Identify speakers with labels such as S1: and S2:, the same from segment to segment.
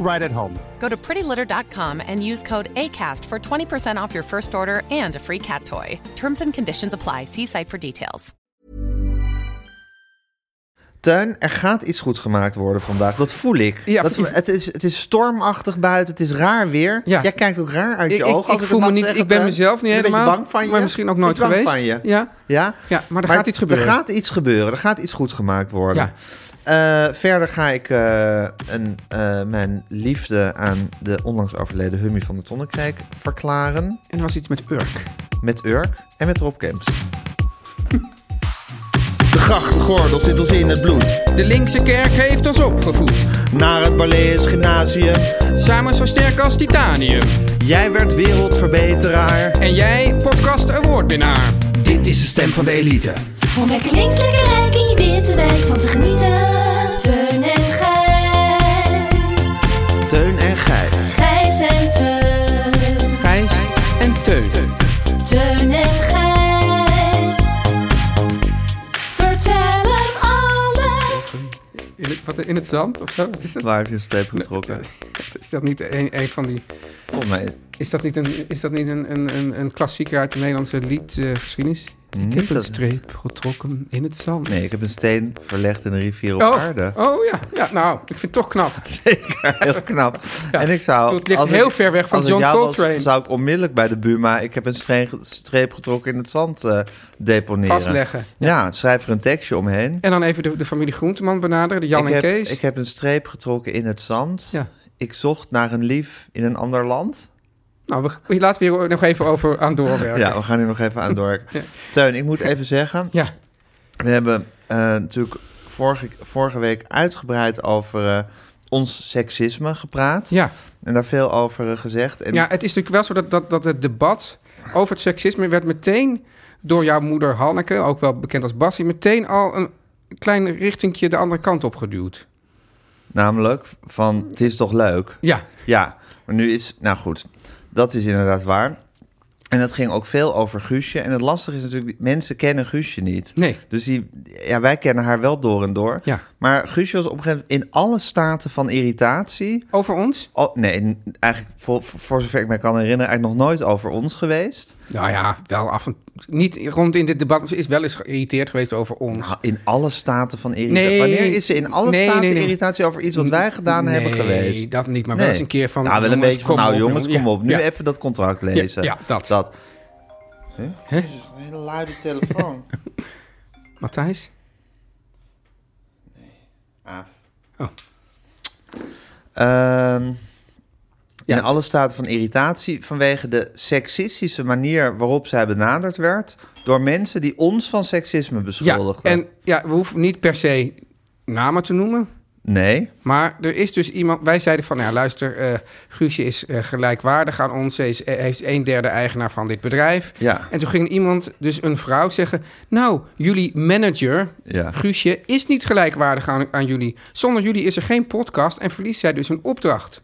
S1: right at home.
S2: Go to prettylitter.com and use code ACAST for 20% off your first order and a free cat toy. Terms and conditions apply. See site for details.
S3: Teun, er gaat iets goed gemaakt worden vandaag. Dat voel ik.
S4: Ja,
S3: dat,
S4: ik-
S3: het, is, het is stormachtig buiten. Het is raar weer.
S4: Ja.
S3: Jij kijkt ook raar uit je
S4: Ik,
S3: ogen.
S4: ik,
S3: als
S4: ik voel
S3: het
S4: me
S3: mag
S4: niet,
S3: zeggen,
S4: ik ben
S3: Teun.
S4: mezelf niet
S3: Een beetje
S4: helemaal.
S3: bang van je.
S4: Maar misschien ook nooit
S3: Ik ben bang
S4: geweest.
S3: van je.
S4: Ja.
S3: Ja?
S4: ja, maar er gaat iets gebeuren.
S3: Er gaat iets gebeuren. Er gaat iets goed gemaakt worden. Eh, verder ga ik eh, een, eh, mijn liefde aan de onlangs overleden Hummy van de Tonnenkrijk verklaren.
S4: En er was iets met Urk.
S3: Met Urk en met Rob Kemps.
S5: De grachtgordel zit ons in het bloed.
S6: De linkse kerk heeft ons opgevoed,
S5: Naar het Balees Gymnasium.
S6: samen zo sterk als titanium.
S5: Jij werd wereldverbeteraar.
S6: En jij, podcast awardwinnaar.
S5: Dit is de stem van de elite.
S7: Om lekker links, lekker rijk in je witte wijk van te genieten. Teun en Gijs.
S5: Teun en Gijs.
S7: Gijs en Teun.
S6: Gijs en Teun.
S7: Teun en Gijs. Vertel hem alles.
S6: In het, wat, in het zand of zo? Wat Is dat,
S3: Waar heb je een streep getrokken?
S6: is dat niet een, een van die...
S3: Volgens mij
S6: Is dat niet een, is dat niet een, een, een, een klassieker uit de Nederlandse liedgeschiedenis? ik heb een
S3: dat-
S6: streep getrokken in het zand.
S3: Nee, ik heb een steen verlegd in een rivier op
S6: Oh,
S3: aarde.
S6: oh ja, ja, nou, ik vind het toch knap.
S3: Zeker, heel knap. En ik zou...
S6: Het ligt
S3: als
S6: heel
S3: ik-
S6: ver weg van
S3: als ik
S6: John
S3: jou was,
S6: Coltrane.
S3: zou ik onmiddellijk bij de Buma... Ik heb een stre- streep getrokken in het zand eh, deponeren.
S6: Vastleggen.
S3: Ja, schrijf er een tekstje omheen.
S6: En dan even de, de familie Groenteman benaderen, de Jan
S3: ik
S6: en
S3: heb,
S6: Kees.
S3: Ik heb een streep getrokken in het zand.
S6: Ja.
S3: Ik zocht naar een lief in een ander land.
S6: Nou, we, we- laten we hier nog even over aan doorwerken.
S3: Ja, we gaan hier nog even aan door. Teun, ik moet even zeggen...
S6: ja.
S3: We hebben eh, natuurlijk vorige, vorige week uitgebreid over... eh, ons seksisme gepraat
S6: ja.
S3: en daar veel over eh, gezegd. En
S6: Ja, het is natuurlijk wel zo dat, dat, dat het debat over het seksisme werd meteen door jouw moeder Hanneke, ook wel bekend als Bassie, meteen al een klein richtingje de andere kant op geduwd.
S3: Namelijk van, het is toch leuk?
S6: Ja,
S3: Ja, maar nu is... Nou goed, dat is inderdaad waar. En dat ging ook veel over Guusje. En het lastige is natuurlijk, mensen kennen Guusje niet.
S6: Nee.
S3: Dus die, ja, wij kennen haar wel door en door.
S6: Ja.
S3: Maar Guusje was op een gegeven moment in alle staten van irritatie...
S6: over ons?
S3: Oh, nee, n- eigenlijk voor, voor- voor zover ik me kan herinneren... eigenlijk nog nooit over ons geweest.
S6: Nou ja, wel af en Niet rond in dit debat. Ze is wel eens geïrriteerd geweest over ons.
S3: Nou, In alle staten van irritatie.
S6: Nee.
S3: Wanneer is ze in alle
S6: Nee,
S3: staten
S6: nee, nee.
S3: irritatie over iets wat wij gedaan
S6: Nee,
S3: hebben geweest?
S6: dat niet, maar wel eens een keer van,
S3: Nou, wel een
S6: jongens,
S3: beetje van,
S6: kom
S3: nou
S6: op,
S3: jongens,
S6: jongen.
S3: kom
S6: Ja,
S3: op. Nu
S6: ja.
S3: even dat contract lezen.
S6: ja, dat.
S3: dat.
S6: Hè?
S3: Een hele luide telefoon.
S6: Matthijs? Oh.
S3: Ehm,
S6: Ja.
S3: In alle staten van irritatie vanwege de seksistische manier waarop zij benaderd werd door mensen die ons van seksisme
S6: Ja,
S3: beschuldigden.
S6: en ja, we hoeven niet per se namen te noemen.
S3: Nee,
S6: Maar er is dus iemand... Wij zeiden van, ja, luister, eh, Guusje is eh, gelijkwaardig aan ons. Hij is, eh, heeft een derde eigenaar van dit bedrijf.
S3: Ja.
S6: En toen ging iemand, dus een vrouw, zeggen... Nou, jullie manager,
S3: Ja.
S6: Guusje, is niet gelijkwaardig aan, aan jullie. Zonder jullie is er geen podcast en verliest zij dus hun opdracht.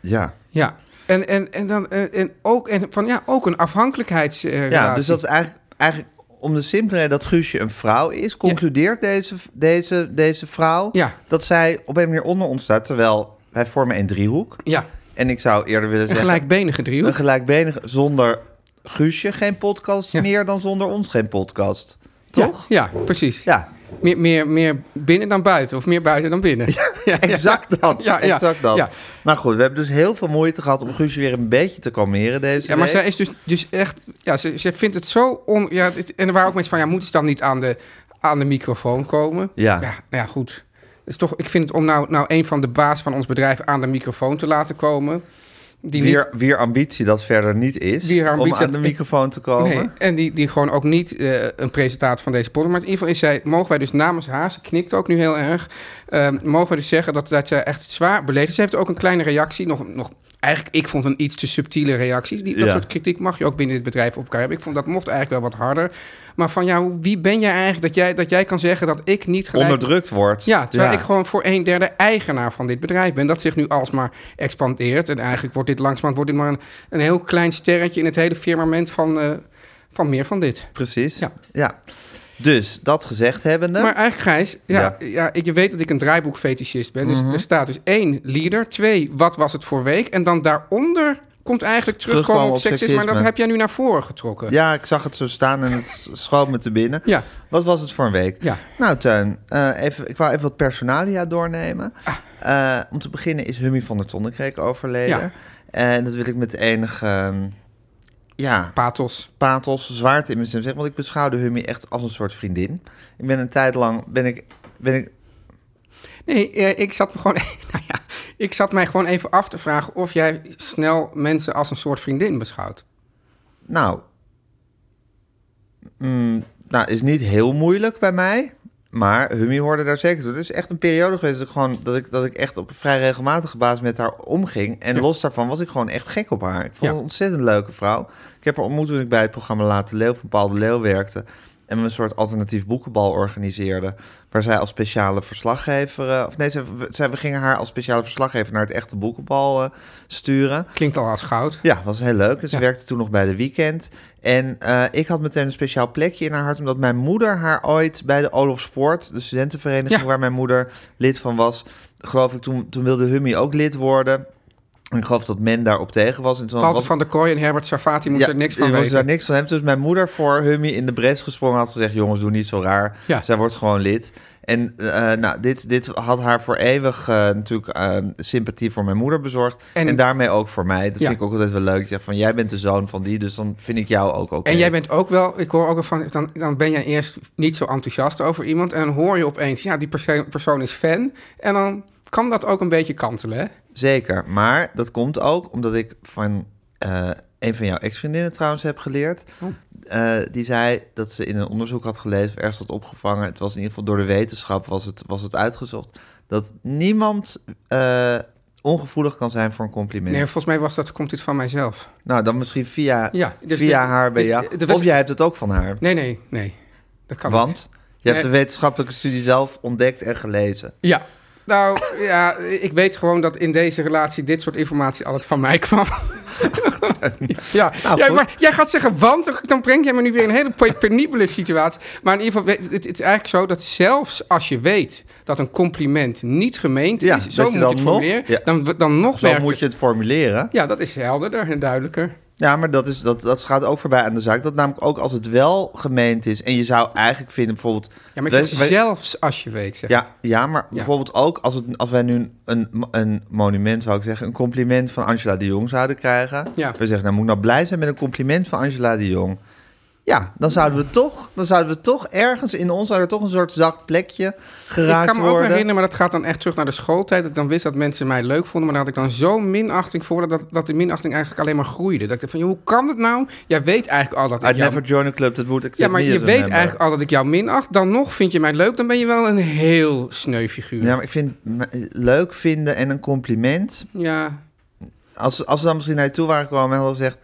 S3: ja.
S6: Ja. En, en, en, dan, en, en ook, en van, ja, ook een afhankelijkheidsrelatie.
S3: Ja, dus dat is eigenlijk, eigenlijk om de simpele reden dat Guusje een vrouw is, concludeert deze, deze, deze vrouw
S6: Ja.
S3: dat zij op een manier onder ons staat, terwijl wij vormen een driehoek.
S6: Ja,
S3: En ik zou eerder willen
S6: een
S3: zeggen,
S6: gelijkbenige driehoek.
S3: een gelijkbenige zonder Guusje geen podcast
S6: Ja.
S3: meer dan zonder ons geen podcast.
S6: Ja,
S3: Toch?
S6: Ja, precies.
S3: Ja,
S6: Meer, meer, meer binnen dan buiten, of meer buiten dan binnen. Ja,
S3: exact dat.
S6: Ja, ja,
S3: exact dat.
S6: ja.
S3: Nou goed, we hebben dus heel veel moeite gehad om Guusje weer een beetje te kalmeren deze
S6: Ja, maar
S3: week.
S6: zij is dus, dus echt... Ja, ze, ze vindt het zo on... Ja, het- en er waren ook mensen van... Ja, moeten ze dan niet aan de, aan de microfoon komen?
S3: Ja.
S6: Ja, nou ja, goed. Het Is toch, ik vind het om nou, nou een van de baas van ons bedrijf aan de microfoon te laten komen... Die
S3: Weer, weer ambitie dat verder niet is
S6: Weer ambitie
S3: om aan de
S6: dat-
S3: microfoon te komen.
S6: Nee, en die, die gewoon ook niet eh, een presentatie van deze podcast. Maar in ieder geval is zij, mogen wij dus namens haar, ze knikt ook nu heel erg, eh, mogen wij dus zeggen dat, dat zij echt zwaar beleefd is. Ze heeft ook een kleine reactie, nog, nog eigenlijk, ik vond een iets te subtiele reactie. Die, dat
S3: Ja.
S6: soort kritiek mag je ook binnen dit bedrijf op elkaar hebben. Ik vond dat mocht eigenlijk wel wat harder. Maar van ja, hoe- wie ben jij eigenlijk dat jij, dat jij kan zeggen dat ik niet gelijk...
S3: Onderdrukt wordt.
S6: Ja, terwijl
S3: Ja.
S6: ik gewoon voor een derde eigenaar van dit bedrijf ben. Dat zich nu alsmaar expandeert. En eigenlijk wordt dit langzamerhand wordt dit maar een, een heel klein sterretje in het hele firmament van, eh, van meer van dit.
S3: Precies.
S6: Ja.
S3: Ja. Dus dat gezegd hebbende.
S6: Maar eh, eigenlijk, Gijs, ja, ja. ik, je weet dat ik een draaiboekfetischist ben. Dus
S3: Mhm.
S6: er staat dus één leader, twee, wat was het voor week? En dan daaronder komt eigenlijk terugkomen,
S3: Terugkomen
S6: op,
S3: op
S6: seksisme. En dat
S3: seksisme.
S6: heb jij nu naar voren getrokken.
S3: ja, ik zag het zo staan en het schoot me te binnen.
S6: Ja.
S3: Wat was het voor een week?
S6: Ja.
S3: Nou, Teun, eh, even, ik wou even wat personalia doornemen.
S6: Ah.
S3: Eh, om te beginnen is Hummy van der Tonnekreek overleden.
S6: Ja.
S3: En dat wil ik met enige ehm, ja,
S6: Pathos.
S3: pathos, zwaarte in mijn stem zeggen. Want ik beschouwde Hummy echt als een soort vriendin. Ik ben een tijd lang, ben ik, ben ik
S6: Nee, eh, ik zat, me gewoon, nou ja, ik zat mij gewoon even af te vragen of jij snel mensen als een soort vriendin beschouwt.
S3: Nou, mm, nou, is niet heel moeilijk bij mij. Maar Hummy hoorde daar zeker toe. Het is echt een periode geweest dat ik, gewoon, dat ik, dat ik echt op een vrij regelmatige basis met haar omging. En los daarvan was ik gewoon echt gek op haar. Ik vond
S6: Ja.
S3: haar een ontzettend leuke vrouw. Ik heb haar ontmoet toen ik bij het programma Late Leeuw van Paul de Leeuw werkte. En we een soort alternatief boekenbal organiseerde. Waar zij als speciale verslaggever... eh, of nee, zij, zij, we gingen haar als speciale verslaggever naar het echte boekenbal eh, sturen.
S6: Klinkt al als goud.
S3: Ja, was heel leuk. En Ze
S6: Ja.
S3: werkte toen nog bij de weekend. En eh, ik had meteen een speciaal plekje in haar hart, omdat mijn moeder haar ooit bij de Olof Sport, de studentenvereniging
S6: Ja.
S3: waar mijn moeder lid van was, geloof ik, toen, toen wilde Hummy ook lid worden. En ik geloof dat men daarop tegen was. En toen
S6: Walter
S3: was,
S6: van der Kooi en Herbert Sarfati moesten er niks van
S3: je moest
S6: weten.
S3: daar niks van hebben. Dus mijn moeder voor Hummy in de bres gesprongen had gezegd... jongens, doe niet zo raar.
S6: Ja.
S3: Zij wordt gewoon lid. En eh, nou, dit, dit had haar voor eeuwig eh, natuurlijk eh, sympathie voor mijn moeder bezorgd.
S6: En-
S3: En, daarmee ook voor mij. Dat
S6: Ja.
S3: vind ik ook altijd wel leuk. Je zegt van, jij bent de zoon van die, dus dan vind ik jou ook oké.
S6: En jij bent ook wel, ik hoor ook wel van, dan, dan ben jij eerst niet zo enthousiast over iemand. En dan hoor je opeens, ja, die perso- persoon is fan. En dan kan dat ook een beetje kantelen. Hè?
S3: Zeker, maar dat komt ook omdat ik van eh, een van jouw ex-vriendinnen trouwens heb geleerd.
S6: Oh.
S3: Eh, die zei dat ze in een onderzoek had gelezen, of ergens had opgevangen. Het was in ieder geval door de wetenschap was het, was het uitgezocht. Dat niemand eh, ongevoelig kan zijn voor een compliment.
S6: Nee, volgens mij was dat, komt dit van mijzelf.
S3: Nou, dan misschien via,
S6: Ja, dus
S3: via
S6: dit-
S3: haar bij
S6: dus
S3: jou.
S6: dit- dit was-
S3: Of jij hebt het ook van haar.
S6: Nee, nee, nee. Dat kan niet.
S3: Want je hebt
S6: Nee.
S3: de wetenschappelijke studie zelf ontdekt en gelezen.
S6: Ja. Nou, ja, ik weet gewoon dat in deze relatie dit soort informatie altijd van mij kwam. ja,
S3: Nou,
S6: ja
S3: goed.
S6: maar jij gaat zeggen, want dan- dan breng jij me nu weer in een hele pe- penibele situatie. Maar in ieder geval, weet- het, het is eigenlijk zo dat zelfs als je weet dat een compliment niet gemeend
S3: Ja,
S6: is,
S3: dat
S6: zo
S3: je
S6: moet je
S3: dan
S6: het
S3: nog-
S6: formuleren,
S3: ja.
S6: dan, dan nog
S3: Zo
S6: werkt
S3: moet je het formuleren.
S6: Ja, dat is helderder en duidelijker.
S3: Ja, maar dat, is, dat, dat gaat ook voorbij aan de zaak. Dat namelijk ook als het wel gemeend is... en je zou eigenlijk vinden bijvoorbeeld...
S6: Ja, maar ik
S3: wij-
S6: zeg,
S3: wij-
S6: zelfs als je weet. Zeg.
S3: ja, ja, maar
S6: Ja.
S3: bijvoorbeeld ook als, het, als wij nu een, een monument, zou ik zeggen... een compliment van Angela de Jong zouden krijgen.
S6: Ja.
S3: We zeggen, nou moet ik nou blij zijn met een compliment van Angela de Jong. Ja, dan zouden we toch, dan zouden we toch ergens in ons... zou er toch een soort zacht plekje
S6: Ik
S3: geraakt
S6: kan me ook
S3: worden.
S6: herinneren, maar dat gaat dan echt terug naar de schooltijd. Dat ik dan wist dat mensen mij leuk vonden. Maar daar had ik dan zo'n minachting voor. Dat, dat de minachting eigenlijk alleen maar groeide. Dat ik dacht van, joh, hoe kan dat nou? Jij weet eigenlijk al dat ik
S3: I'd
S6: jou...
S3: never join a club, dat would accept
S6: Ja, maar
S3: me
S6: je
S3: as a
S6: weet
S3: member.
S6: eigenlijk al dat ik jou minacht. Dan nog vind je mij leuk. Dan ben je wel een heel sneu figuur.
S3: Ja,
S6: Ja.
S3: maar ik vind m- leuk vinden en een compliment... Als, als ze dan misschien naar je toe waren gekomen en hadden gezegd...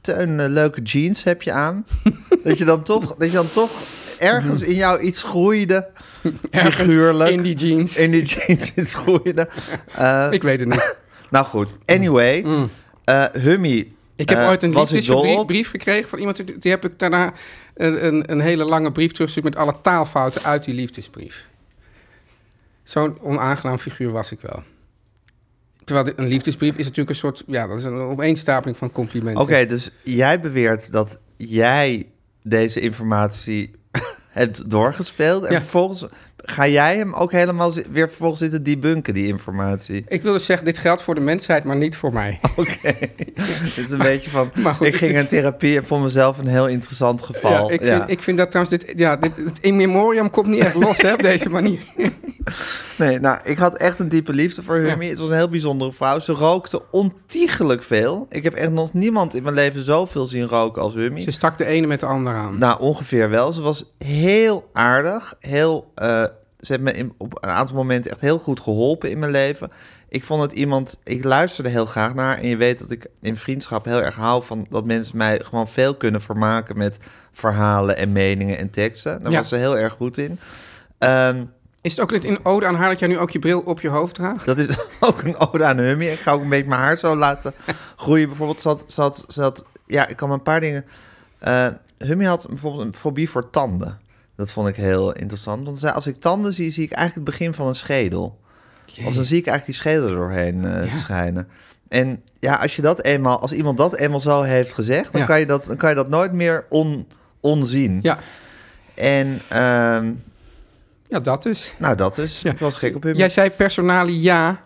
S3: Teun, eh, leuke jeans heb je aan. dat, je dan toch, dat je dan toch ergens in jou iets groeide. figuurlijk.
S6: In die jeans.
S3: In die jeans iets groeide. Eh,
S6: Ik weet het niet.
S3: nou goed, anyway. eh, Hummy.
S6: Mm. Ik heb
S3: eh,
S6: ooit een
S3: was ik dol
S6: liefdesbrief
S3: op.
S6: brief gekregen van iemand. Die, die heb ik daarna een, een, een hele lange brief teruggestuurd... met alle taalfouten uit die liefdesbrief. Zo'n onaangenaam figuur was ik wel. Terwijl dit- een liefdesbrief is natuurlijk een soort... Ja, dat is een opeenstapeling van complimenten.
S3: Oké, dus jij beweert dat jij deze informatie hebt doorgespeeld. En
S6: Ja.
S3: vervolgens ga jij hem ook helemaal zi- weer vervolgens zitten debunken, die informatie.
S6: Ik wil dus zeggen, dit geldt voor de mensheid, maar niet voor mij.
S3: Oké, het is een beetje van,
S6: maar goed,
S3: ik ging
S6: dit-
S3: in therapie en vond mezelf een heel interessant geval.
S6: Ja, ik, Vind, ik vind dat trouwens... Dit, ja, dit, het in memoriam komt niet echt los hè, op deze manier.
S3: Nee, nou, ik had echt een diepe liefde voor Hummy. Het was een heel bijzondere vrouw. Ze rookte ontiegelijk veel. Ik heb echt nog niemand in mijn leven zoveel zien roken als Hummy.
S6: Ze stak de ene met de andere aan.
S3: Nou, ongeveer wel. Ze was heel aardig. Heel, eh, ze heeft me in- op een aantal momenten echt heel goed geholpen in mijn leven. Ik vond het iemand... Ik luisterde heel graag naar haar. En je weet dat ik in vriendschap heel erg hou van... dat mensen mij gewoon veel kunnen vermaken met verhalen en meningen en teksten. Daar
S6: Ja.
S3: was ze heel erg goed in. Ehm,
S6: Is het ook dit in ode aan haar dat jij nu ook je bril op je hoofd draagt?
S3: dat is ook een ode aan Hummy. Ik ga ook een beetje mijn haar zo laten groeien. Bijvoorbeeld zat... zat, zat ja, ik kan me een paar dingen... Eh Hummy had bijvoorbeeld een fobie voor tanden. Dat vond ik heel interessant. Want zij- als ik tanden zie, zie ik eigenlijk het begin van een schedel. Of dan zie ik eigenlijk die schedel er doorheen eh, schijnen. En ja, als, je dat eenmaal, als iemand dat eenmaal zo heeft gezegd... dan,
S6: Ja.
S3: kan, je dat, dan kan je dat nooit meer on, onzien.
S6: Ja,
S3: En ehm,
S6: ja dat dus.
S3: nou, dat dus. Ik was gek op Hummy.
S6: Jij zei personalia.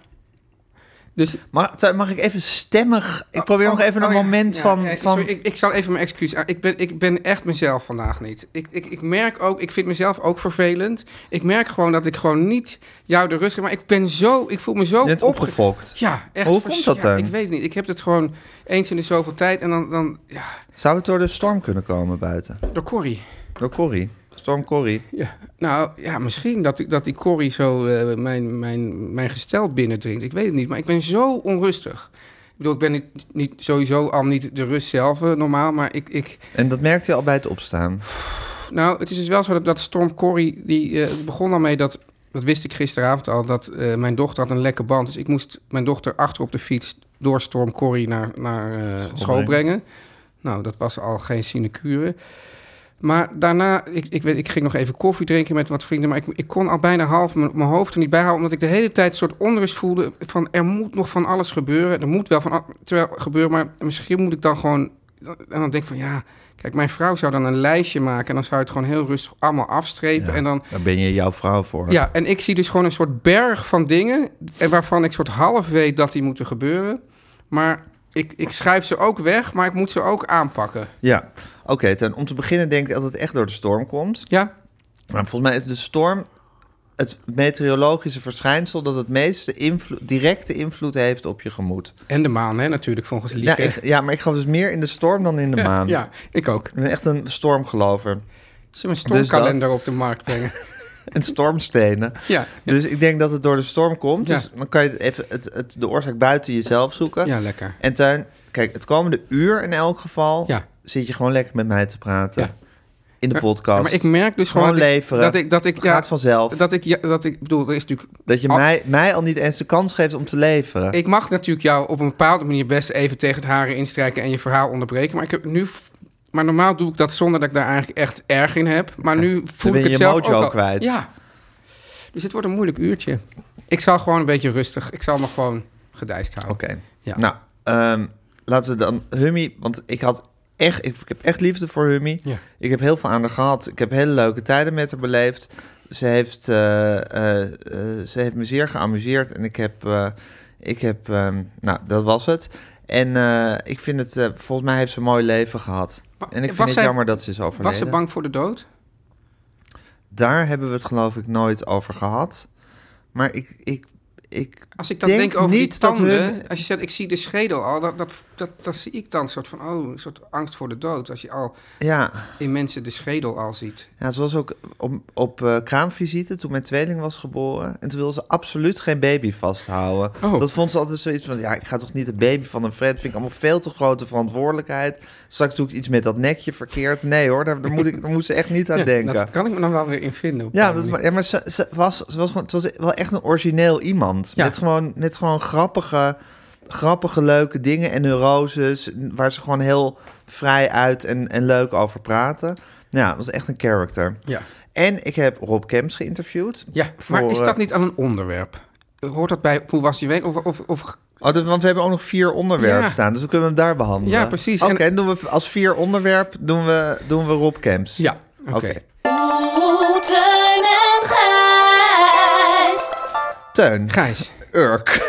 S6: Dus
S3: Mag, zou- mag ik even stemmig... Ik probeer nog
S6: Oh,
S3: even
S6: oh
S3: een
S6: ja.
S3: moment
S6: Ja,
S3: van...
S6: ja,
S3: van
S6: sorry, ik, ik zal even mijn excuus aan. Ik ben, ik ben echt mezelf vandaag niet. Ik, ik, ik merk ook, ik vind mezelf ook vervelend. Ik merk gewoon dat ik gewoon niet jou de rust geef. Maar ik ben zo, ik voel me zo
S3: je bent
S6: opge-
S3: opgefokt.
S6: Ja, echt.
S3: Hoe komt dat
S6: ja,
S3: dan?
S6: Ik weet niet. Ik heb het gewoon eens in de zoveel tijd. En dan, dan ja,
S3: Zou het door de storm kunnen komen buiten?
S6: door Corrie.
S3: Door Corrie. Storm Corrie.
S6: Ja. Nou, ja, misschien dat, ik- dat die Corrie zo eh, mijn, mijn, mijn gestel binnendringt. Ik weet het niet, maar ik ben zo onrustig. Ik bedoel, ik ben niet, niet, sowieso al niet de rust zelf eh, normaal, maar ik, ik,
S3: En dat merkte je al bij het opstaan.
S6: Nou, het is dus wel zo dat, dat Storm Corrie, die eh, begon daarmee dat... Dat wist ik gisteravond al, dat eh, mijn dochter had een lekke band. Dus ik moest mijn dochter achter op de fiets door Storm Corrie naar, naar eh, school brengen. Nou, dat was al geen sinecure. Maar daarna, ik, ik, weet, ik ging nog even koffie drinken met wat vrienden... maar ik, ik kon al bijna half mijn, mijn hoofd er niet bij houden... omdat ik de hele tijd een soort onrust voelde van... er moet nog van alles gebeuren. Er moet wel van al- terwijl, gebeuren, maar misschien moet ik dan gewoon... En dan denk ik van, ja, kijk, mijn vrouw zou dan een lijstje maken... en dan zou je het gewoon heel rustig allemaal afstrepen... en dan
S3: Daar ben je jouw vrouw voor.
S6: ja, en ik zie dus gewoon een soort berg van dingen... en waarvan ik soort half weet dat die moeten gebeuren. Maar ik, ik schuif ze ook weg, maar ik moet ze ook aanpakken.
S3: Ja. Oké, ten, om te beginnen denk ik dat het echt door de storm komt.
S6: Ja,
S3: Maar volgens mij is de storm het meteorologische verschijnsel dat het meeste invlo- directe invloed heeft op je gemoed.
S6: en de maan, hè, natuurlijk, volgens
S3: Ja,
S6: Lieke.
S3: ik, ja, maar ik geloof dus meer in de storm dan in de maan.
S6: Ja, ik ook.
S3: Ik ben echt een stormgelover.
S6: Ze
S3: Dus
S6: mijn stormkalender op de markt brengen.
S3: En stormstenen.
S6: Ja.
S3: Dus ik denk dat het door de storm komt.
S6: Ja.
S3: Dus dan kan je het even het, het, de oorzaak buiten jezelf zoeken.
S6: Ja, lekker.
S3: En Tuin, kijk, het komende uur in elk geval
S6: Ja.
S3: zit je gewoon lekker met mij te praten.
S6: Ja.
S3: In de podcast.
S6: Ja, maar ik merk dus
S3: Gewoon
S6: gewoon, dat ik-
S3: leveren.
S6: Dat ik, dat ik,
S3: Het gaat vanzelf.
S6: Dat Oh. ik, ja, dat ik bedoel, er is natuurlijk...
S3: Dat je
S6: Ab-
S3: mij, mij al niet eens de kans geeft om te leveren.
S6: Ik mag natuurlijk jou op een bepaalde manier best even tegen het haren instrijken en je verhaal onderbreken. Maar ik heb nu. f- Maar normaal doe ik dat zonder dat ik daar eigenlijk echt erg in heb. Maar nu voel
S3: ben
S6: ik
S3: je
S6: het
S3: je
S6: zelf
S3: mojo
S6: ook al.
S3: kwijt.
S6: Ja. Dus het wordt een moeilijk uurtje. Ik zal gewoon een beetje rustig. Ik zal me gewoon gedijst houden.
S3: Oké.
S6: Ja.
S3: Nou, ehm, laten we dan Hummy, want ik had echt, ik, ik heb echt liefde voor Hummy.
S6: Ja.
S3: Ik heb heel veel aan haar gehad. Ik heb hele leuke tijden met haar beleefd. Ze heeft, eh, eh, eh, ze heeft me zeer geamuseerd en ik heb, eh, ik heb, ehm, nou, dat was het. En eh, ik vind het, eh, volgens mij heeft ze een mooi leven gehad.
S6: Maar
S3: En ik vind
S6: was
S3: het
S6: zij-
S3: jammer dat ze is overleden.
S6: Was ze bang voor de dood?
S3: Daar hebben we het geloof ik nooit over gehad. Maar ik, ik, ik
S6: Als ik dan denk, over die
S3: niet dat
S6: tanden,
S3: hun-
S6: als je zegt ik zie de schedel al, dat, dat, dat, dat zie ik dan een soort van, oh, een soort angst voor de dood. Als je al
S3: ja,
S6: in mensen de schedel al ziet.
S3: Ja, ze was ook op, op eh, kraamvisite toen mijn tweeling was geboren. En toen wilde ze absoluut geen baby vasthouden.
S6: Oh.
S3: Dat vond ze altijd zoiets van... Ja, ik ga toch niet de baby van een friend? Vind ik allemaal veel te grote verantwoordelijkheid. Straks doe ik iets met dat nekje verkeerd. Nee hoor, daar, daar moet, ik, daar moet ze echt niet aan denken.
S6: Dat kan ik me dan wel weer in vinden. op
S3: Ja,
S6: een
S3: dat,
S6: manier.
S3: maar- ja, maar ze, ze was, ze was gewoon, het was wel echt een origineel iemand.
S6: Ja.
S3: Met, gewoon, met gewoon grappige, grappige, leuke dingen en neuroses... waar ze gewoon heel vrij uit en, en leuk over praten. Ja, het was echt een character.
S6: Ja.
S3: En ik heb Rob Kemps geïnterviewd.
S6: Ja,
S3: Voor,
S6: maar is
S3: eh,
S6: dat niet aan een onderwerp? Hoort dat bij hoe was je week? Of, of, of
S3: Oh, dat- want we hebben ook nog vier onderwerpen
S6: Ja.
S3: staan, dus dan kunnen we hem daar behandelen.
S6: Ja, precies.
S3: Oké,
S6: En-
S3: dan doen we als vier onderwerp doen we, doen we Rob Camps.
S6: Ja, oké.
S7: Oeh, Teun en Gijs.
S3: Teun,
S6: Gijs.
S3: Urk.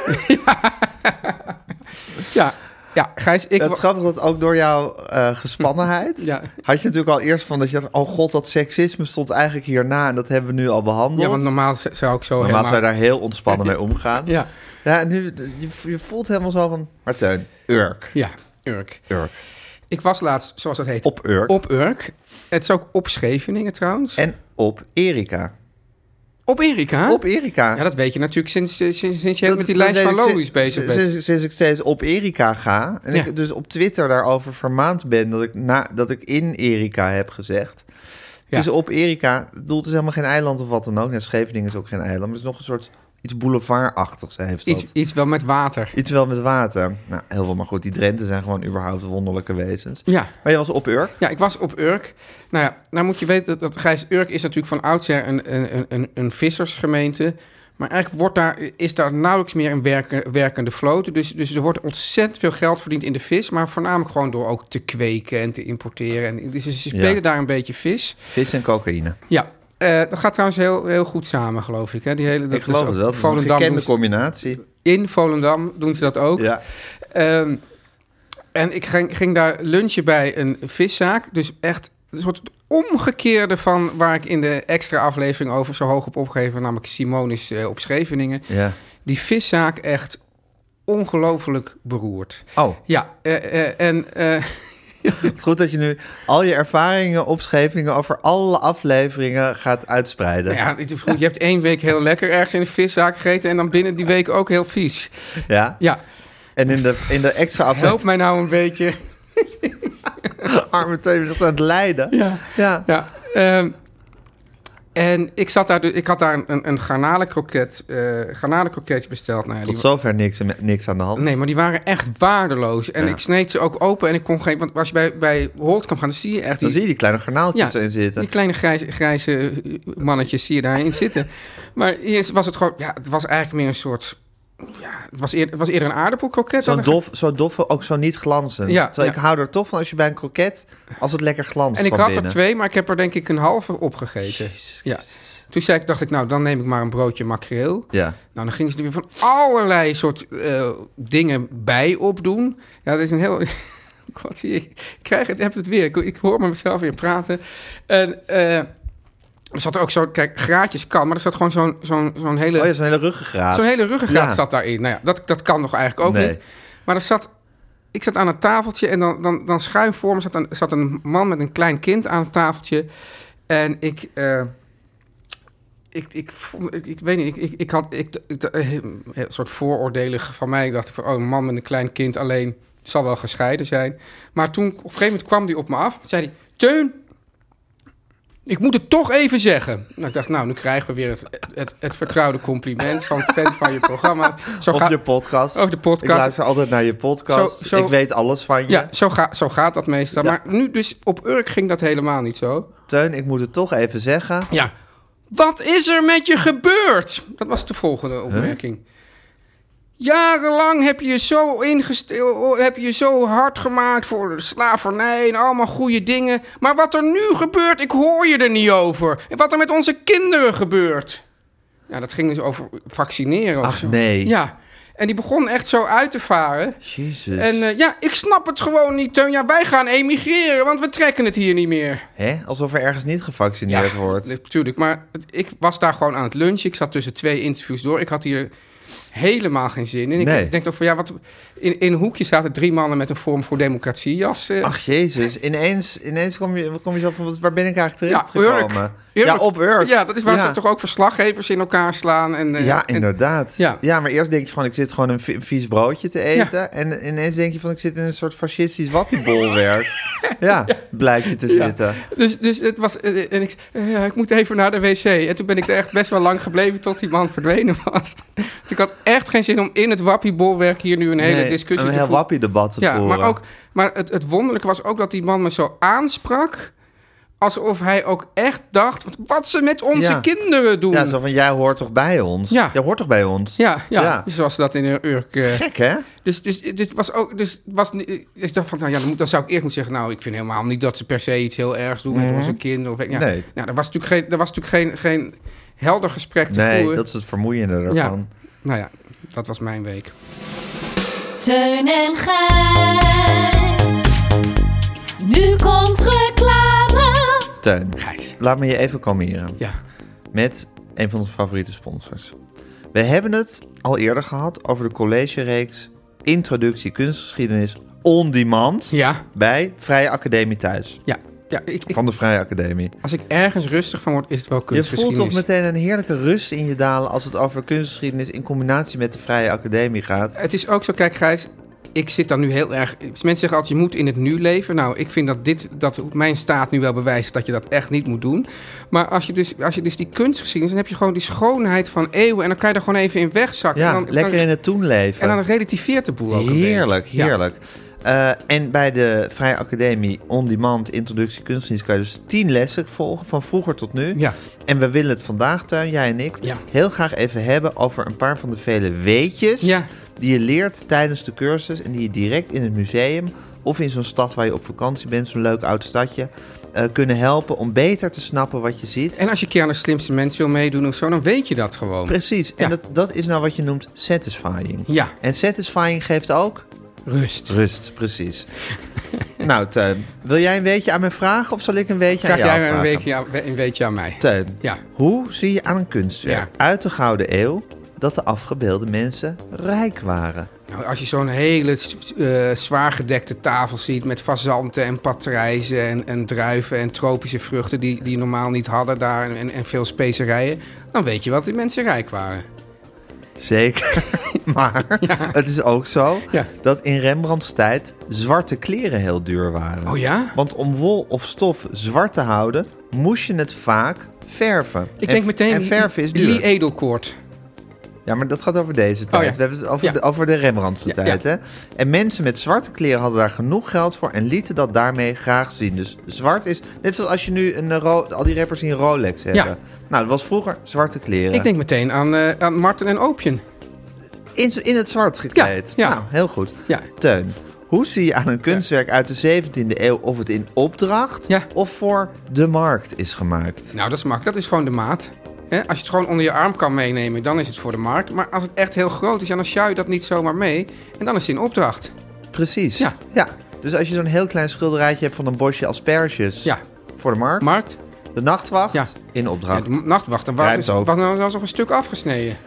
S6: Ja, ja Gijs, ik...
S3: Het is grappig dat ook door jouw eh, gespannenheid...
S6: Ja.
S3: had je natuurlijk al eerst van dat je dacht... oh god, dat seksisme stond eigenlijk hierna... en dat hebben we nu al behandeld.
S6: ja, want normaal z- zou ik zo
S3: Normaal
S6: helemaal...
S3: zou je daar heel ontspannen mee omgaan.
S6: Ja,
S3: Ja, en nu, je, je voelt helemaal zo van... Maar Teun, Urk.
S6: ja, Urk.
S3: Urk.
S6: Ik was laatst, zoals dat heet,
S3: Op Urk.
S6: op Urk. Het is ook op Scheveningen trouwens.
S3: En op Erika.
S6: op Erika.
S3: Op Erika.
S6: Ja, dat weet je natuurlijk sinds, eh, sinds, sinds je met die
S3: dat
S6: lijst van
S3: weet ik
S6: logisch
S3: si-
S6: bezig
S3: si-
S6: bent.
S3: Sinds, sinds ik steeds op Erika ga... en
S6: Ja.
S3: ik dus op Twitter daarover vermaand ben... dat ik, na, dat ik in Erika heb gezegd...
S6: Ja.
S3: Het is op Erika, het doel is helemaal geen eiland of wat dan ook. Nee, Scheveningen is ook geen eiland, maar het is nog een soort iets boulevardachtigs heeft dat.
S6: Iets,
S3: Iets,
S6: iets wel met water.
S3: wel met water. Nou, heel veel, maar goed, die Drenten zijn gewoon überhaupt wonderlijke wezens.
S6: Ja.
S3: Maar je was op Urk.
S6: Ja, ik was op Urk. Nou ja, nou moet je weten dat, dat Gijs Urk is natuurlijk van oudsher een, een, een- een, een vissersgemeente. Maar eigenlijk wordt daar, is daar nauwelijks meer een werken- werkende vloot. Dus, dus er wordt ontzettend veel geld verdiend in de vis. Maar voornamelijk gewoon door ook te kweken en te importeren. En, dus ze spelen
S3: Ja.
S6: daar een beetje vis.
S3: Vis en cocaïne.
S6: Ja, eh, dat gaat trouwens heel, heel goed samen, geloof ik. Hè? Die hele, dat
S3: ik
S6: is
S3: geloof
S6: ook-
S3: het wel. Het is een
S6: Volendam
S3: gekende
S6: doen ze-
S3: combinatie.
S6: in Volendam doen ze dat ook.
S3: Ja.
S6: Ehm, en ik ging, ging daar lunchen bij een viszaak. Dus echt een soort omgekeerde van waar ik in de extra aflevering over zo hoog op opgegeven, namelijk Simonis eh, op Scheveningen.
S3: ja.
S6: Die viszaak echt ongelooflijk beroerd.
S3: Oh,
S6: Ja, eh, eh, en eh,
S3: het is goed dat je nu al je ervaringen, opschrijvingen over alle afleveringen gaat uitspreiden.
S6: nou ja, het is goed, je hebt één week heel lekker ergens in de viszaak gegeten en dan binnen die week ook heel vies.
S3: Ja?
S6: Ja,
S3: En in de, in de extra aflevering,
S6: help mij nou een beetje.
S3: arme Teun is echt aan het lijden.
S6: Ja.
S3: Ja.
S6: Ja, ehm, en ik, zat daar, dus- ik had daar een, een garnalenkroket, eh garnalenkroket besteld. Nou, ja, die-
S3: Tot zover niks, niks aan de hand.
S6: nee, maar die waren echt waardeloos. En
S3: Ja.
S6: ik sneed ze ook open en ik kon geen... Want als je bij, bij Holtkamp gaat, dan zie je echt die,
S3: Dan zie je die kleine garnaaltjes
S6: Ja,
S3: in zitten.
S6: die kleine grijze, grijze eh, mannetjes zie je daarin zitten. Maar eerst was het gewoon... Ja, het was eigenlijk meer een soort... Ja, het was eerder, het was eerder een aardappelkroket.
S3: Zo'n
S6: dan een
S3: dof, zo doffe, ook zo niet glanzend.
S6: Ja,
S3: Terwijl
S6: ja.
S3: ik hou er toch van als je bij een kroket, als het lekker glanst
S6: En ik
S3: van
S6: had er
S3: binnen.
S6: twee, maar ik heb er denk ik een halve opgegeten. Ja. Toen zei ik, dacht ik, nou, dan neem ik maar een broodje makreel.
S3: Ja.
S6: Nou, dan gingen ze er weer van allerlei soort eh, dingen bij opdoen. Ja, dat is een heel... God, zie je, ik krijg het, heb het weer. Ik, ik hoor mezelf weer praten. En eh, er zat ook zo... Kijk, graadjes kan, maar er zat gewoon zo'n zo'n zo'n hele...
S3: Oh ja, zo'n hele ruggengraat.
S6: Zo'n hele ruggengraat
S3: Ja.
S6: zat daarin. Nou ja, dat, dat kan nog eigenlijk ook
S3: Nee.
S6: niet. Maar er zat, ik zat aan een tafeltje en dan, dan, dan schuin voor me zat een, zat een man met een klein kind aan het tafeltje. En ik, eh, ik, ik, vond- ik, ik weet niet, ik, ik, ik had ik, ik- eh, een soort vooroordelen van mij. Ik dacht van, oh, een man met een klein kind alleen zal wel gescheiden zijn. Maar toen, op een gegeven moment kwam die op me af. zei hij, Teun, ik moet het toch even zeggen. Nou, ik dacht, nou, nu krijgen we weer het, het, het vertrouwde compliment van fan van je programma. Zo
S3: Of
S6: ga-
S3: je podcast.
S6: Of de podcast.
S3: Ik luister altijd naar je podcast.
S6: Zo- zo-
S3: Ik weet alles van je.
S6: Ja, zo, ga, zo gaat dat meestal. Maar nu dus op Urk ging dat helemaal niet zo.
S3: Teun, ik moet het toch even zeggen.
S6: Ja. Wat is er met je gebeurd? Dat was de volgende opmerking. Jarenlang heb je je zo ingesteld, heb je je zo hard gemaakt voor de slavernij en allemaal goede dingen. Maar wat er nu gebeurt, ik hoor je er niet over. En wat er met onze kinderen gebeurt. Ja, dat ging dus over vaccineren of
S3: Ach,
S6: zo.
S3: nee.
S6: Ja. En die begon echt zo uit te varen.
S3: Jezus.
S6: En eh, ja, ik snap het gewoon niet, Teun. Ja, wij gaan emigreren, want we trekken het hier niet meer.
S3: Hè? Alsof er ergens niet gevaccineerd wordt.
S6: Natuurlijk, maar het- ik was daar gewoon aan het lunchen. Ik zat tussen twee interviews door. Ik had hier helemaal geen zin in. Ik
S3: Nee.
S6: denk toch van, ja, wat... In, in een hoekje zaten drie mannen met een vorm voor democratie jas. eh.
S3: Ach, jezus. Ineens, ineens kom, je, kom je zo van, wat- waar ben ik eigenlijk
S6: ja,
S3: terecht
S6: Urk.
S3: gekomen?
S6: Urk.
S3: Ja, op Urk.
S6: Ja, dat is waar
S3: Ja.
S6: ze toch ook verslaggevers in elkaar slaan. En, eh,
S3: Ja,
S6: en-
S3: inderdaad.
S6: ja.
S3: Ja. maar eerst denk je gewoon, ik zit gewoon een vi- vies broodje te eten.
S6: Ja.
S3: En ineens denk je van, ik zit in een soort fascistisch wappiebolwerk. ja, blijkt je te zitten.
S6: Dus, dus het was. eh, En ik, zei, eh, ik moet even naar de wc. En toen ben ik er echt best wel lang gebleven tot die man verdwenen was. Want ik had echt geen zin om in het wappiebolwerk hier nu een hele
S3: Nee,
S6: discussie
S3: Een
S6: te
S3: heel
S6: voeren.
S3: wappie debat te
S6: Ja,
S3: voeren.
S6: maar, ook, maar het, het wonderlijke was ook dat die man me zo aansprak. alsof hij ook echt dacht... wat- wat ze met onze
S3: Ja.
S6: kinderen doen.
S3: Ja, zo van, jij hoort toch bij ons?
S6: Ja.
S3: Jij hoort toch bij ons?
S6: Ja, ja,
S3: Ja.
S6: zoals ze dat in Urk. eh,
S3: Gek, hè?
S6: dus, dus dit was ook. Dus was, ni- ik dacht van, nou ja, dan, moet, dan zou ik eerst moeten zeggen. Nou, ik vind helemaal niet dat ze per se iets heel ergs doen met onze kinderen. Of, ja,
S3: Mhm. Nee.
S6: Nou, er was natuurlijk geen, er was natuurlijk geen, geen helder gesprek te
S3: Nee,
S6: voeren.
S3: dat is het vermoeiende
S6: Ja.
S3: ervan.
S6: Nou ja, dat was mijn week.
S7: Teun en Gijs. Nu komt reclame.
S3: Teun, laat me je even kalmeren
S6: Ja.
S3: met een van onze favoriete sponsors. We hebben het al eerder gehad over de collegereeks Introductie Kunstgeschiedenis On Demand
S6: Ja.
S3: bij Vrije Academie Thuis.
S6: Ja. ja ik, ik-
S3: Van de Vrije Academie.
S6: als ik ergens rustig van word, is het wel
S3: Je voelt
S6: kunstgeschiedenis.
S3: toch meteen een heerlijke rust in je dalen als het over kunstgeschiedenis in combinatie met de Vrije Academie gaat.
S6: Het is ook zo, kijk Gijs, ik zit dan nu heel erg... Mensen zeggen altijd, je moet in het nu leven. Nou, ik vind dat, dit, dat mijn staat nu wel bewijst dat je dat echt niet moet doen. Maar als je dus, als je dus die kunstgeschiedenis... dan heb je gewoon die schoonheid van eeuwen... en dan kan je er gewoon even in wegzakken.
S3: Ja,
S6: en dan,
S3: lekker
S6: dan-
S3: in het toen leven.
S6: En dan relativeert de boel ook een beetje.
S3: Heerlijk,
S6: Ja.
S3: heerlijk. Eh, en bij de Vrije Academie On Demand Introductie Kunstdienst kan je dus tien lessen volgen, van vroeger tot nu.
S6: Ja.
S3: En we willen het vandaag, Tuin, jij en ik,
S6: Ja.
S3: heel graag even hebben over een paar van de vele weetjes
S6: Ja.
S3: die je leert tijdens de cursus en die je direct in het museum of in zo'n stad waar je op vakantie bent, zo'n leuk oud stadje, eh, kunnen helpen om beter te snappen wat je ziet.
S6: En als je een keer aan de slimste mens wil meedoen of zo... dan weet je dat gewoon.
S3: Precies, en
S6: Ja.
S3: dat, dat is nou wat je noemt satisfying.
S6: Ja.
S3: En satisfying geeft ook
S6: Rust.
S3: Rust, precies. nou, Teun, wil jij een weetje aan mij vragen of zal ik een weetje
S6: Vraag
S3: aan jou
S6: jij een
S3: vragen?
S6: weekje, aan- een weekje aan mij.
S3: Teun,
S6: Ja.
S3: hoe zie je aan een kunstwerk
S6: Ja.
S3: uit de Gouden Eeuw dat de afgebeelde mensen rijk waren?
S6: Nou, als je zo'n hele eh zwaar gedekte tafel ziet met fazanten en patrijzen en, en druiven en tropische vruchten die, die je normaal niet hadden daar en, en veel specerijen, dan weet je wat die mensen rijk waren.
S3: Zeker, maar het is ook zo
S6: Ja.
S3: dat in Rembrandts tijd zwarte kleren heel duur waren.
S6: Oh ja?
S3: Want om wol of stof zwart te houden, moest je het vaak verven.
S6: Ik
S3: En-
S6: denk meteen
S3: En verven is
S6: Lee-
S3: duur.
S6: Lee Edelkoort.
S3: Ja, maar dat gaat over deze tijd.
S6: Oh ja.
S3: We hebben het over,
S6: Ja.
S3: de, over de Rembrandtse
S6: Ja,
S3: tijd.
S6: ja.
S3: Hè? En mensen met zwarte kleren hadden daar genoeg geld voor en lieten dat daarmee graag zien. Dus zwart is, net zoals als je nu een, eh, ro- al die rappers die een Rolex hebben. Nou, dat was vroeger zwarte kleren.
S6: Ik denk meteen aan, eh, aan Martin en Opium.
S3: in, z- in het zwart gekleed.
S6: Ja, ja.
S3: Nou, heel goed.
S6: Ja.
S3: Teun, hoe zie je aan een kunstwerk uit de 17e eeuw of het in opdracht
S6: Ja.
S3: of voor de markt is gemaakt?
S6: Nou, dat is makkelijk. Dat is gewoon de maat. Hè, als je het gewoon onder je arm kan meenemen, dan is het voor de markt. Maar als het echt heel groot is, ja, dan sjouw je dat niet zomaar mee. En dan is het in opdracht.
S3: Precies.
S6: Ja.
S3: ja. Dus als je zo'n heel klein schilderijtje hebt van een bosje asperges
S6: Ja.
S3: voor de markt.
S6: Markt,
S3: De nachtwacht
S6: Ja.
S3: in opdracht.
S6: Ja, de nachtwacht, dan
S3: Rijmt
S6: was,
S3: ook.
S6: was nou zelfs nog een stuk afgesneden.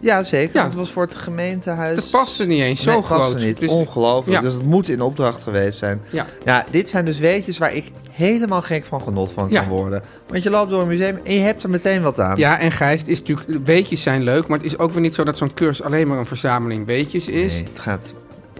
S3: Ja, zeker.
S6: Ja.
S3: want het was voor het gemeentehuis.
S6: Dat paste niet eens, zo
S3: Nee, paste
S6: groot.
S3: Niet.
S6: Dus-
S3: Ongelooflijk.
S6: Ja.
S3: Dus het moet in opdracht geweest zijn.
S6: Ja.
S3: dit zijn dus weetjes waar ik helemaal gek van genot van
S6: Ja.
S3: kan worden. Want je loopt door een museum en je hebt er meteen wat aan.
S6: Ja, en Gijs, het is natuurlijk, weetjes zijn leuk, maar het is ook weer niet zo dat zo'n cursus alleen maar een verzameling weetjes is.
S3: Nee, het gaat...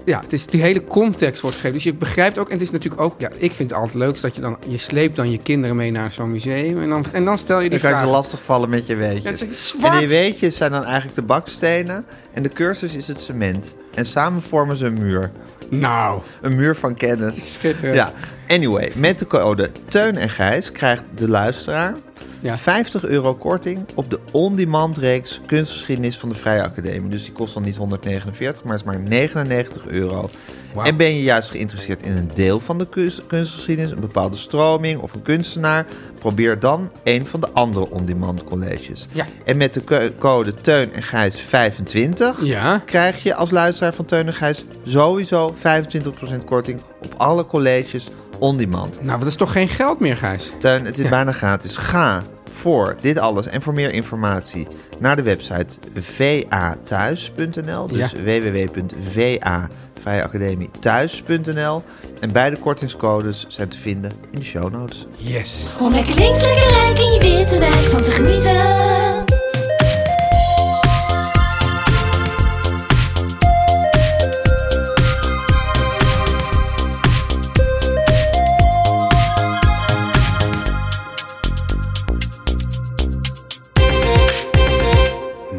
S6: Ja, het is die hele context wordt gegeven. Dus je begrijpt ook, en het is natuurlijk ook, ja, ik vind het altijd leuk dat je dan, je sleept dan je kinderen mee naar zo'n museum en dan, en dan stel je die
S3: Dan kan je
S6: vraag.
S3: ze lastig vallen met je
S6: Ja, het
S3: weetjes.
S6: is
S3: en
S6: zwart.
S3: die weetjes zijn dan eigenlijk de bakstenen en de cursus is het cement. En samen vormen ze een muur.
S6: Nou,
S3: Een muur van kennis.
S6: Schitterend.
S3: Ja. Anyway, met de code Teun en Gijs krijgt de luisteraar
S6: Ja.
S3: 50 euro korting op de on-demand reeks kunstgeschiedenis van de Vrije Academie. Dus die kost dan niet 149, maar is maar 99 euro.
S6: Wauw.
S3: En ben je juist geïnteresseerd in een deel van de kus- kunstgeschiedenis, een bepaalde stroming of een kunstenaar? Probeer dan een van de andere on-demand colleges.
S6: Ja.
S3: En met de keu- code Teun en Gijs 25
S6: Ja.
S3: krijg je als luisteraar van Teun en Gijs sowieso 25% korting op alle colleges on-demand.
S6: nou, dat is toch geen geld meer, Gijs?
S3: Teun, het is bijna gratis. Ga voor dit alles en voor meer informatie naar de website vathuis.nl. Dus
S6: Ja.
S3: www.va Vrije Academie thuis.nl. En beide kortingscodes zijn te vinden in de show notes.
S6: Yes.
S7: Om lekker links, lekker rijk in je witte wijk van te genieten.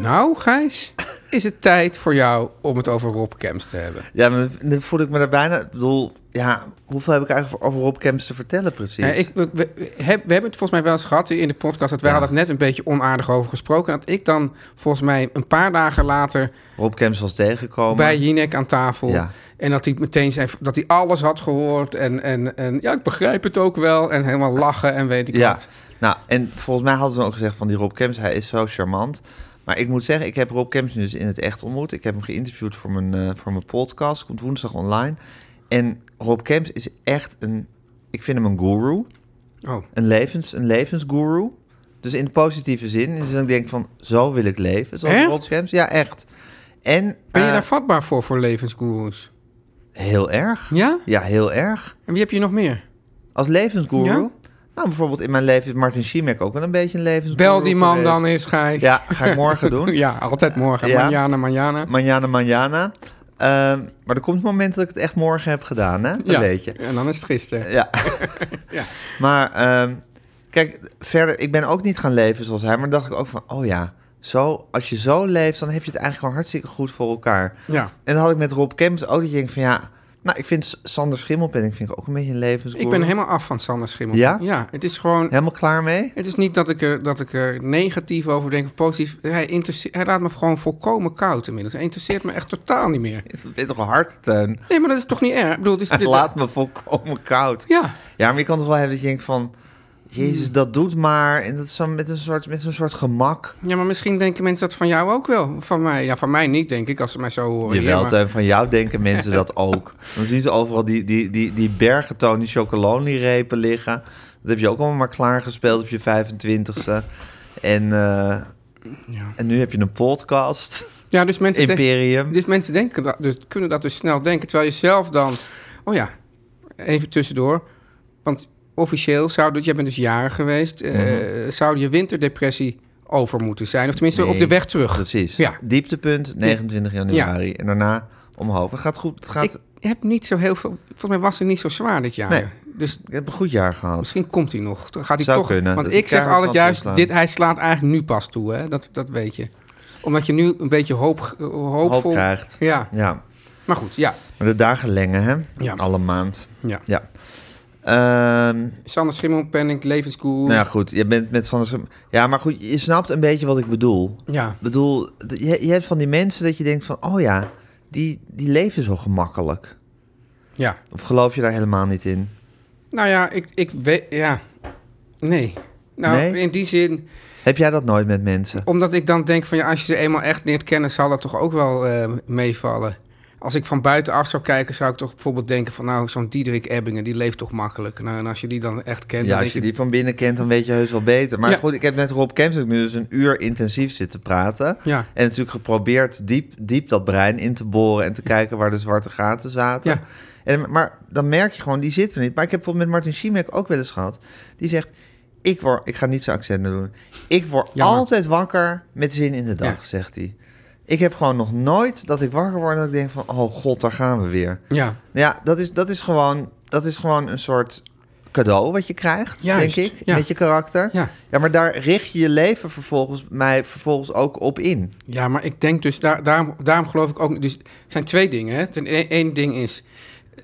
S6: Nou, Gijs, is het tijd voor jou om het over Rob Camps te hebben.
S3: Ja, maar dan voel ik me daar bijna... Ik bedoel, ja, hoeveel heb ik eigenlijk over Rob Camps te vertellen precies?
S6: Ja, ik, we, we, we heb- we hebben het volgens mij wel eens gehad hier in de podcast... dat wij hadden het net een beetje onaardig over gesproken. Dat ik dan volgens mij een paar dagen later
S3: Rob Camps was tegengekomen.
S6: bij Jinek aan tafel...
S3: Ja.
S6: en dat hij meteen zei dat hij alles had gehoord... En, en, en ja, ik begrijp het ook wel... en helemaal lachen en weet ik
S3: Ja,
S6: wat.
S3: nou, en volgens mij hadden ze ook gezegd van die Rob Kemps, hij is zo charmant. Maar ik moet zeggen, ik heb Rob Kemps nu dus in het echt ontmoet. Ik heb hem geïnterviewd voor mijn, eh, voor mijn podcast, komt woensdag online. En Rob Kemps is echt een, ik vind hem een guru,
S6: Oh,
S3: een, levens, een levensguru. Dus in de positieve zin, dus dan denk ik van, zo wil ik leven, zoals
S6: Echt?
S3: Rob Kemps. Ja, echt. En
S6: ben je
S3: eh,
S6: daar vatbaar voor, voor levensgoeroes?
S3: heel erg.
S6: Ja?
S3: Ja, heel erg.
S6: En wie heb je nog meer?
S3: Als levensguru.
S6: Ja?
S3: Nou, bijvoorbeeld in mijn leven is Martin Schimek ook wel een beetje een levensguru
S6: Bel die man
S3: geweest.
S6: dan eens, Gijs.
S3: Ja, ga ik morgen doen.
S6: ja altijd morgen.
S3: Ja.
S6: Manjana, manjana.
S3: Manjana, manjana. Ehm, maar er komt een moment dat ik het echt morgen heb gedaan, hè? Dat
S6: ja.
S3: weet je.
S6: En dan is het gisteren.
S3: Ja. Maar ehm, kijk, verder, ik ben ook niet gaan leven zoals hij. Maar dacht ik ook van, oh ja, zo, als je zo leeft, dan heb je het eigenlijk gewoon hartstikke goed voor elkaar.
S6: Ja.
S3: En dan had ik met Rob Kemps ook dat je denkt van, ja, nou, ik vind S- Sander Schimmelpenning vind ik ook een beetje een levensgoeroe.
S6: Ik ben helemaal af van Sander Schimmel.
S3: Ja?
S6: het is gewoon...
S3: helemaal klaar mee.
S6: Het is niet dat ik, er, dat ik er negatief over denk of positief. Hij, interesse- hij laat me gewoon volkomen koud inmiddels. Hij interesseert me echt totaal niet meer.
S3: Is een beetje hard, Teun.
S6: Nee, maar dat is toch niet erg? Ik bedoel, het is
S3: Het
S6: dit-
S3: laat me volkomen koud.
S6: Ja. Hmm.
S3: Ja, maar je kan toch wel hebben dat je denkt van... Jezus, dat doet maar. En dat is zo met een soort, met zo'n soort gemak.
S6: ja, maar misschien denken mensen dat van jou ook wel. Van mij, ja, van mij niet, denk ik, als ze mij zo horen.
S3: Jawel,
S6: Ja, maar-
S3: Teun, van jou denken mensen dat ook. Dan zien ze overal die, die, die, die bergen Tony Chocolonely-repen liggen. Dat heb je ook allemaal maar klaargespeeld op je 25ste. En, eh,
S6: Ja.
S3: en nu heb je een podcast,
S6: ja, dus mensen, denken-
S3: Imperium.
S6: dus mensen denken dat, dus kunnen dat dus snel denken. Terwijl je zelf dan... Oh ja, even tussendoor. Want officieel zou... dat- Jij bent dus jaren geweest. eh, Zou je winterdepressie over moeten zijn? Of tenminste op
S3: Mhm. Nee,
S6: de weg terug.
S3: Precies.
S6: Ja.
S3: Dieptepunt, 29 januari. En daarna omhoog. Het gaat goed. Het gaat, ik,
S6: Ik heb niet zo heel veel. Volgens mij was het niet zo zwaar dit jaar.
S3: Nee.
S6: Dus
S3: heb een goed jaar gehad.
S6: misschien komt hij nog. Dan gaat hij
S3: Zou
S6: toch.
S3: kunnen,
S6: Want
S3: dat
S6: ik
S3: hij
S6: zeg
S3: keihard
S6: altijd
S3: kan
S6: juist:
S3: toeslaan.
S6: dit, hij slaat eigenlijk nu pas toe. Hè? Dat, dat weet je. Omdat je nu een beetje hoop, hoopvol.
S3: Hoop krijgt.
S6: Ja,
S3: Ja.
S6: maar goed. Ja.
S3: Maar de dagen lengen, hè?
S6: Ja.
S3: Alle maand.
S6: ja.
S3: Ja. Ehm,
S6: Sander Schimmelpenning, Levenscool.
S3: nou ja, goed. Je bent met Sander... Schim- Ja, maar goed. Je snapt een beetje wat ik bedoel.
S6: ja.
S3: Ik bedoel, d- je, je hebt van die mensen dat je denkt van... Oh ja, die, die leven zo gemakkelijk.
S6: ja.
S3: Of geloof je daar helemaal niet in?
S6: Nou ja, ik, ik weet. Ja. Nee. Nou,
S3: Nee?
S6: in die zin,
S3: Heb jij dat nooit met mensen?
S6: omdat ik dan denk van ja, als je ze eenmaal echt leert kennen, zal dat toch ook wel eh, meevallen. Als ik van buitenaf zou kijken, zou ik toch bijvoorbeeld denken van nou, zo'n Diederik Ebbingen, die leeft toch makkelijk. Nou, en als je die dan echt kent,
S3: ja,
S6: dan
S3: als je
S6: denk
S3: die van binnen kent, dan weet je heus wel beter. Maar
S6: Ja.
S3: goed, ik heb met Rob Kemps ook nu dus een uur intensief zitten praten.
S6: Ja.
S3: En natuurlijk geprobeerd diep, diep dat brein in te boren... en te kijken waar de zwarte gaten zaten.
S6: Ja.
S3: En, maar dan merk je gewoon, die zitten er niet. Maar ik heb bijvoorbeeld met Martin Schimek ook wel eens gehad. Die zegt, ik, word, ik ga niet zijn accenten doen. Ik word
S6: Jammer.
S3: altijd wakker met zin in de dag,
S6: Ja.
S3: zegt hij. Ik heb gewoon nog nooit dat ik wakker word en dat ik denk van... oh god, daar gaan we weer.
S6: Ja,
S3: Nou Ja, dat is, dat is, gewoon, dat is gewoon een soort cadeau wat je krijgt,
S6: Juist,
S3: denk ik,
S6: ja.
S3: met je karakter.
S6: Ja.
S3: maar daar richt je je leven vervolgens, mij vervolgens ook op in.
S6: ja, maar ik denk dus, daar, daarom, daarom geloof ik ook... Dus het zijn twee dingen. Hè. Ten, e- één ding is,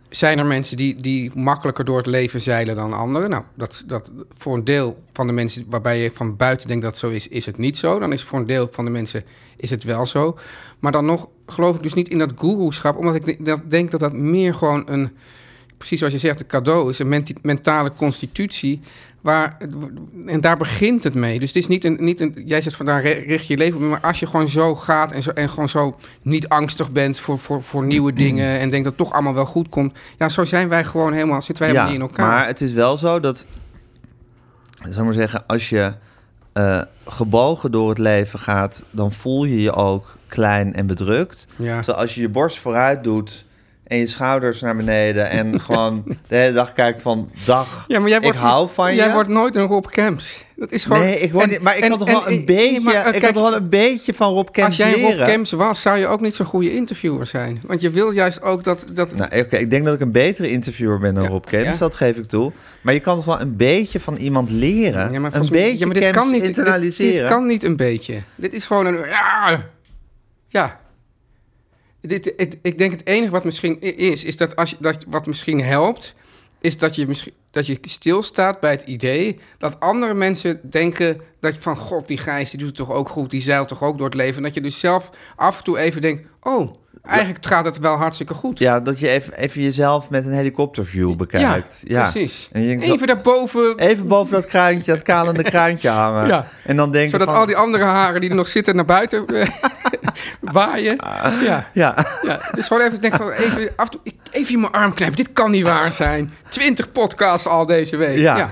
S6: zijn er mensen die, die makkelijker door het leven zeilen dan anderen? Nou, dat, dat voor een deel van de mensen waarbij je van buiten denkt dat het zo is, is het niet zo. Dan is voor een deel van de mensen is het wel zo. Maar dan nog geloof ik dus niet in dat goeroeschap, omdat ik de- dat denk dat dat meer gewoon een... precies zoals je zegt, een cadeau is een menti- mentale constitutie. Waar, en daar begint het mee. Dus het is niet een. Niet een jij zegt van daar re- richt je je leven op. Maar als je gewoon zo gaat en, zo, en gewoon zo niet angstig bent voor, voor, voor nieuwe dingen. en denkt dat het toch allemaal wel goed komt. Ja, zo zijn wij gewoon helemaal. Zitten wij helemaal niet in elkaar.
S3: maar het is wel zo dat, zal ik maar zeggen, als je eh, gebogen door het leven gaat, dan voel je je ook klein en bedrukt.
S6: Ja.
S3: Terwijl als je je borst vooruit doet en je schouders naar beneden en gewoon de hele dag kijkt van dag,
S6: ja, maar jij wordt,
S3: ik hou van je.
S6: Jij wordt nooit een Rob Camps. Dat is gewoon.
S3: nee, ik word
S6: en-
S3: niet, maar ik
S6: en-
S3: had toch
S6: en-
S3: wel een
S6: en-
S3: beetje,
S6: maar, eh,
S3: ik had
S6: kijk,
S3: toch wel een beetje van Rob Kemps
S6: Als jij Rob
S3: leren.
S6: Camps was, zou je ook niet zo'n goede interviewer zijn. Want je wil juist ook dat. dat
S3: Nou, oké, ik denk dat ik een betere interviewer ben dan
S6: Ja,
S3: Rob Kemps,
S6: ja.
S3: dat geef ik toe. Maar je kan toch wel een beetje van iemand leren,
S6: Ja, maar
S3: een
S6: volgens mij-
S3: beetje
S6: ja, maar dit
S3: Kemps
S6: kan niet, dit,
S3: internaliseren.
S6: dit kan niet een beetje. Dit is gewoon een... Ja, Ja. Dit, het- ik denk het enige wat misschien i- is, is dat, als je, dat wat misschien helpt, is dat je, misschien, dat je stilstaat bij het idee dat andere mensen denken dat van god, die Gijs die doet het toch ook goed, die zeilt toch ook door het leven. En dat je dus zelf af en toe even denkt, oh, eigenlijk gaat het wel hartstikke goed.
S3: Ja, dat je even, even jezelf met een helikopterview bekijkt. Ja,
S6: precies.
S3: En je denkt zo-
S6: Even daarboven,
S3: even boven dat kraantje, dat kalende kraantje hangen.
S6: Ja.
S3: En dan denk je
S6: zodat
S3: van-
S6: al die andere haren die er nog zitten naar buiten eh, waaien.
S3: Ah.
S6: Ja.
S3: Ja,
S6: Ja, dus gewoon even denken van even af en toe ik- even in mijn arm knijpen. Dit kan niet waar zijn. Twintig podcasts al deze week.
S3: Ja.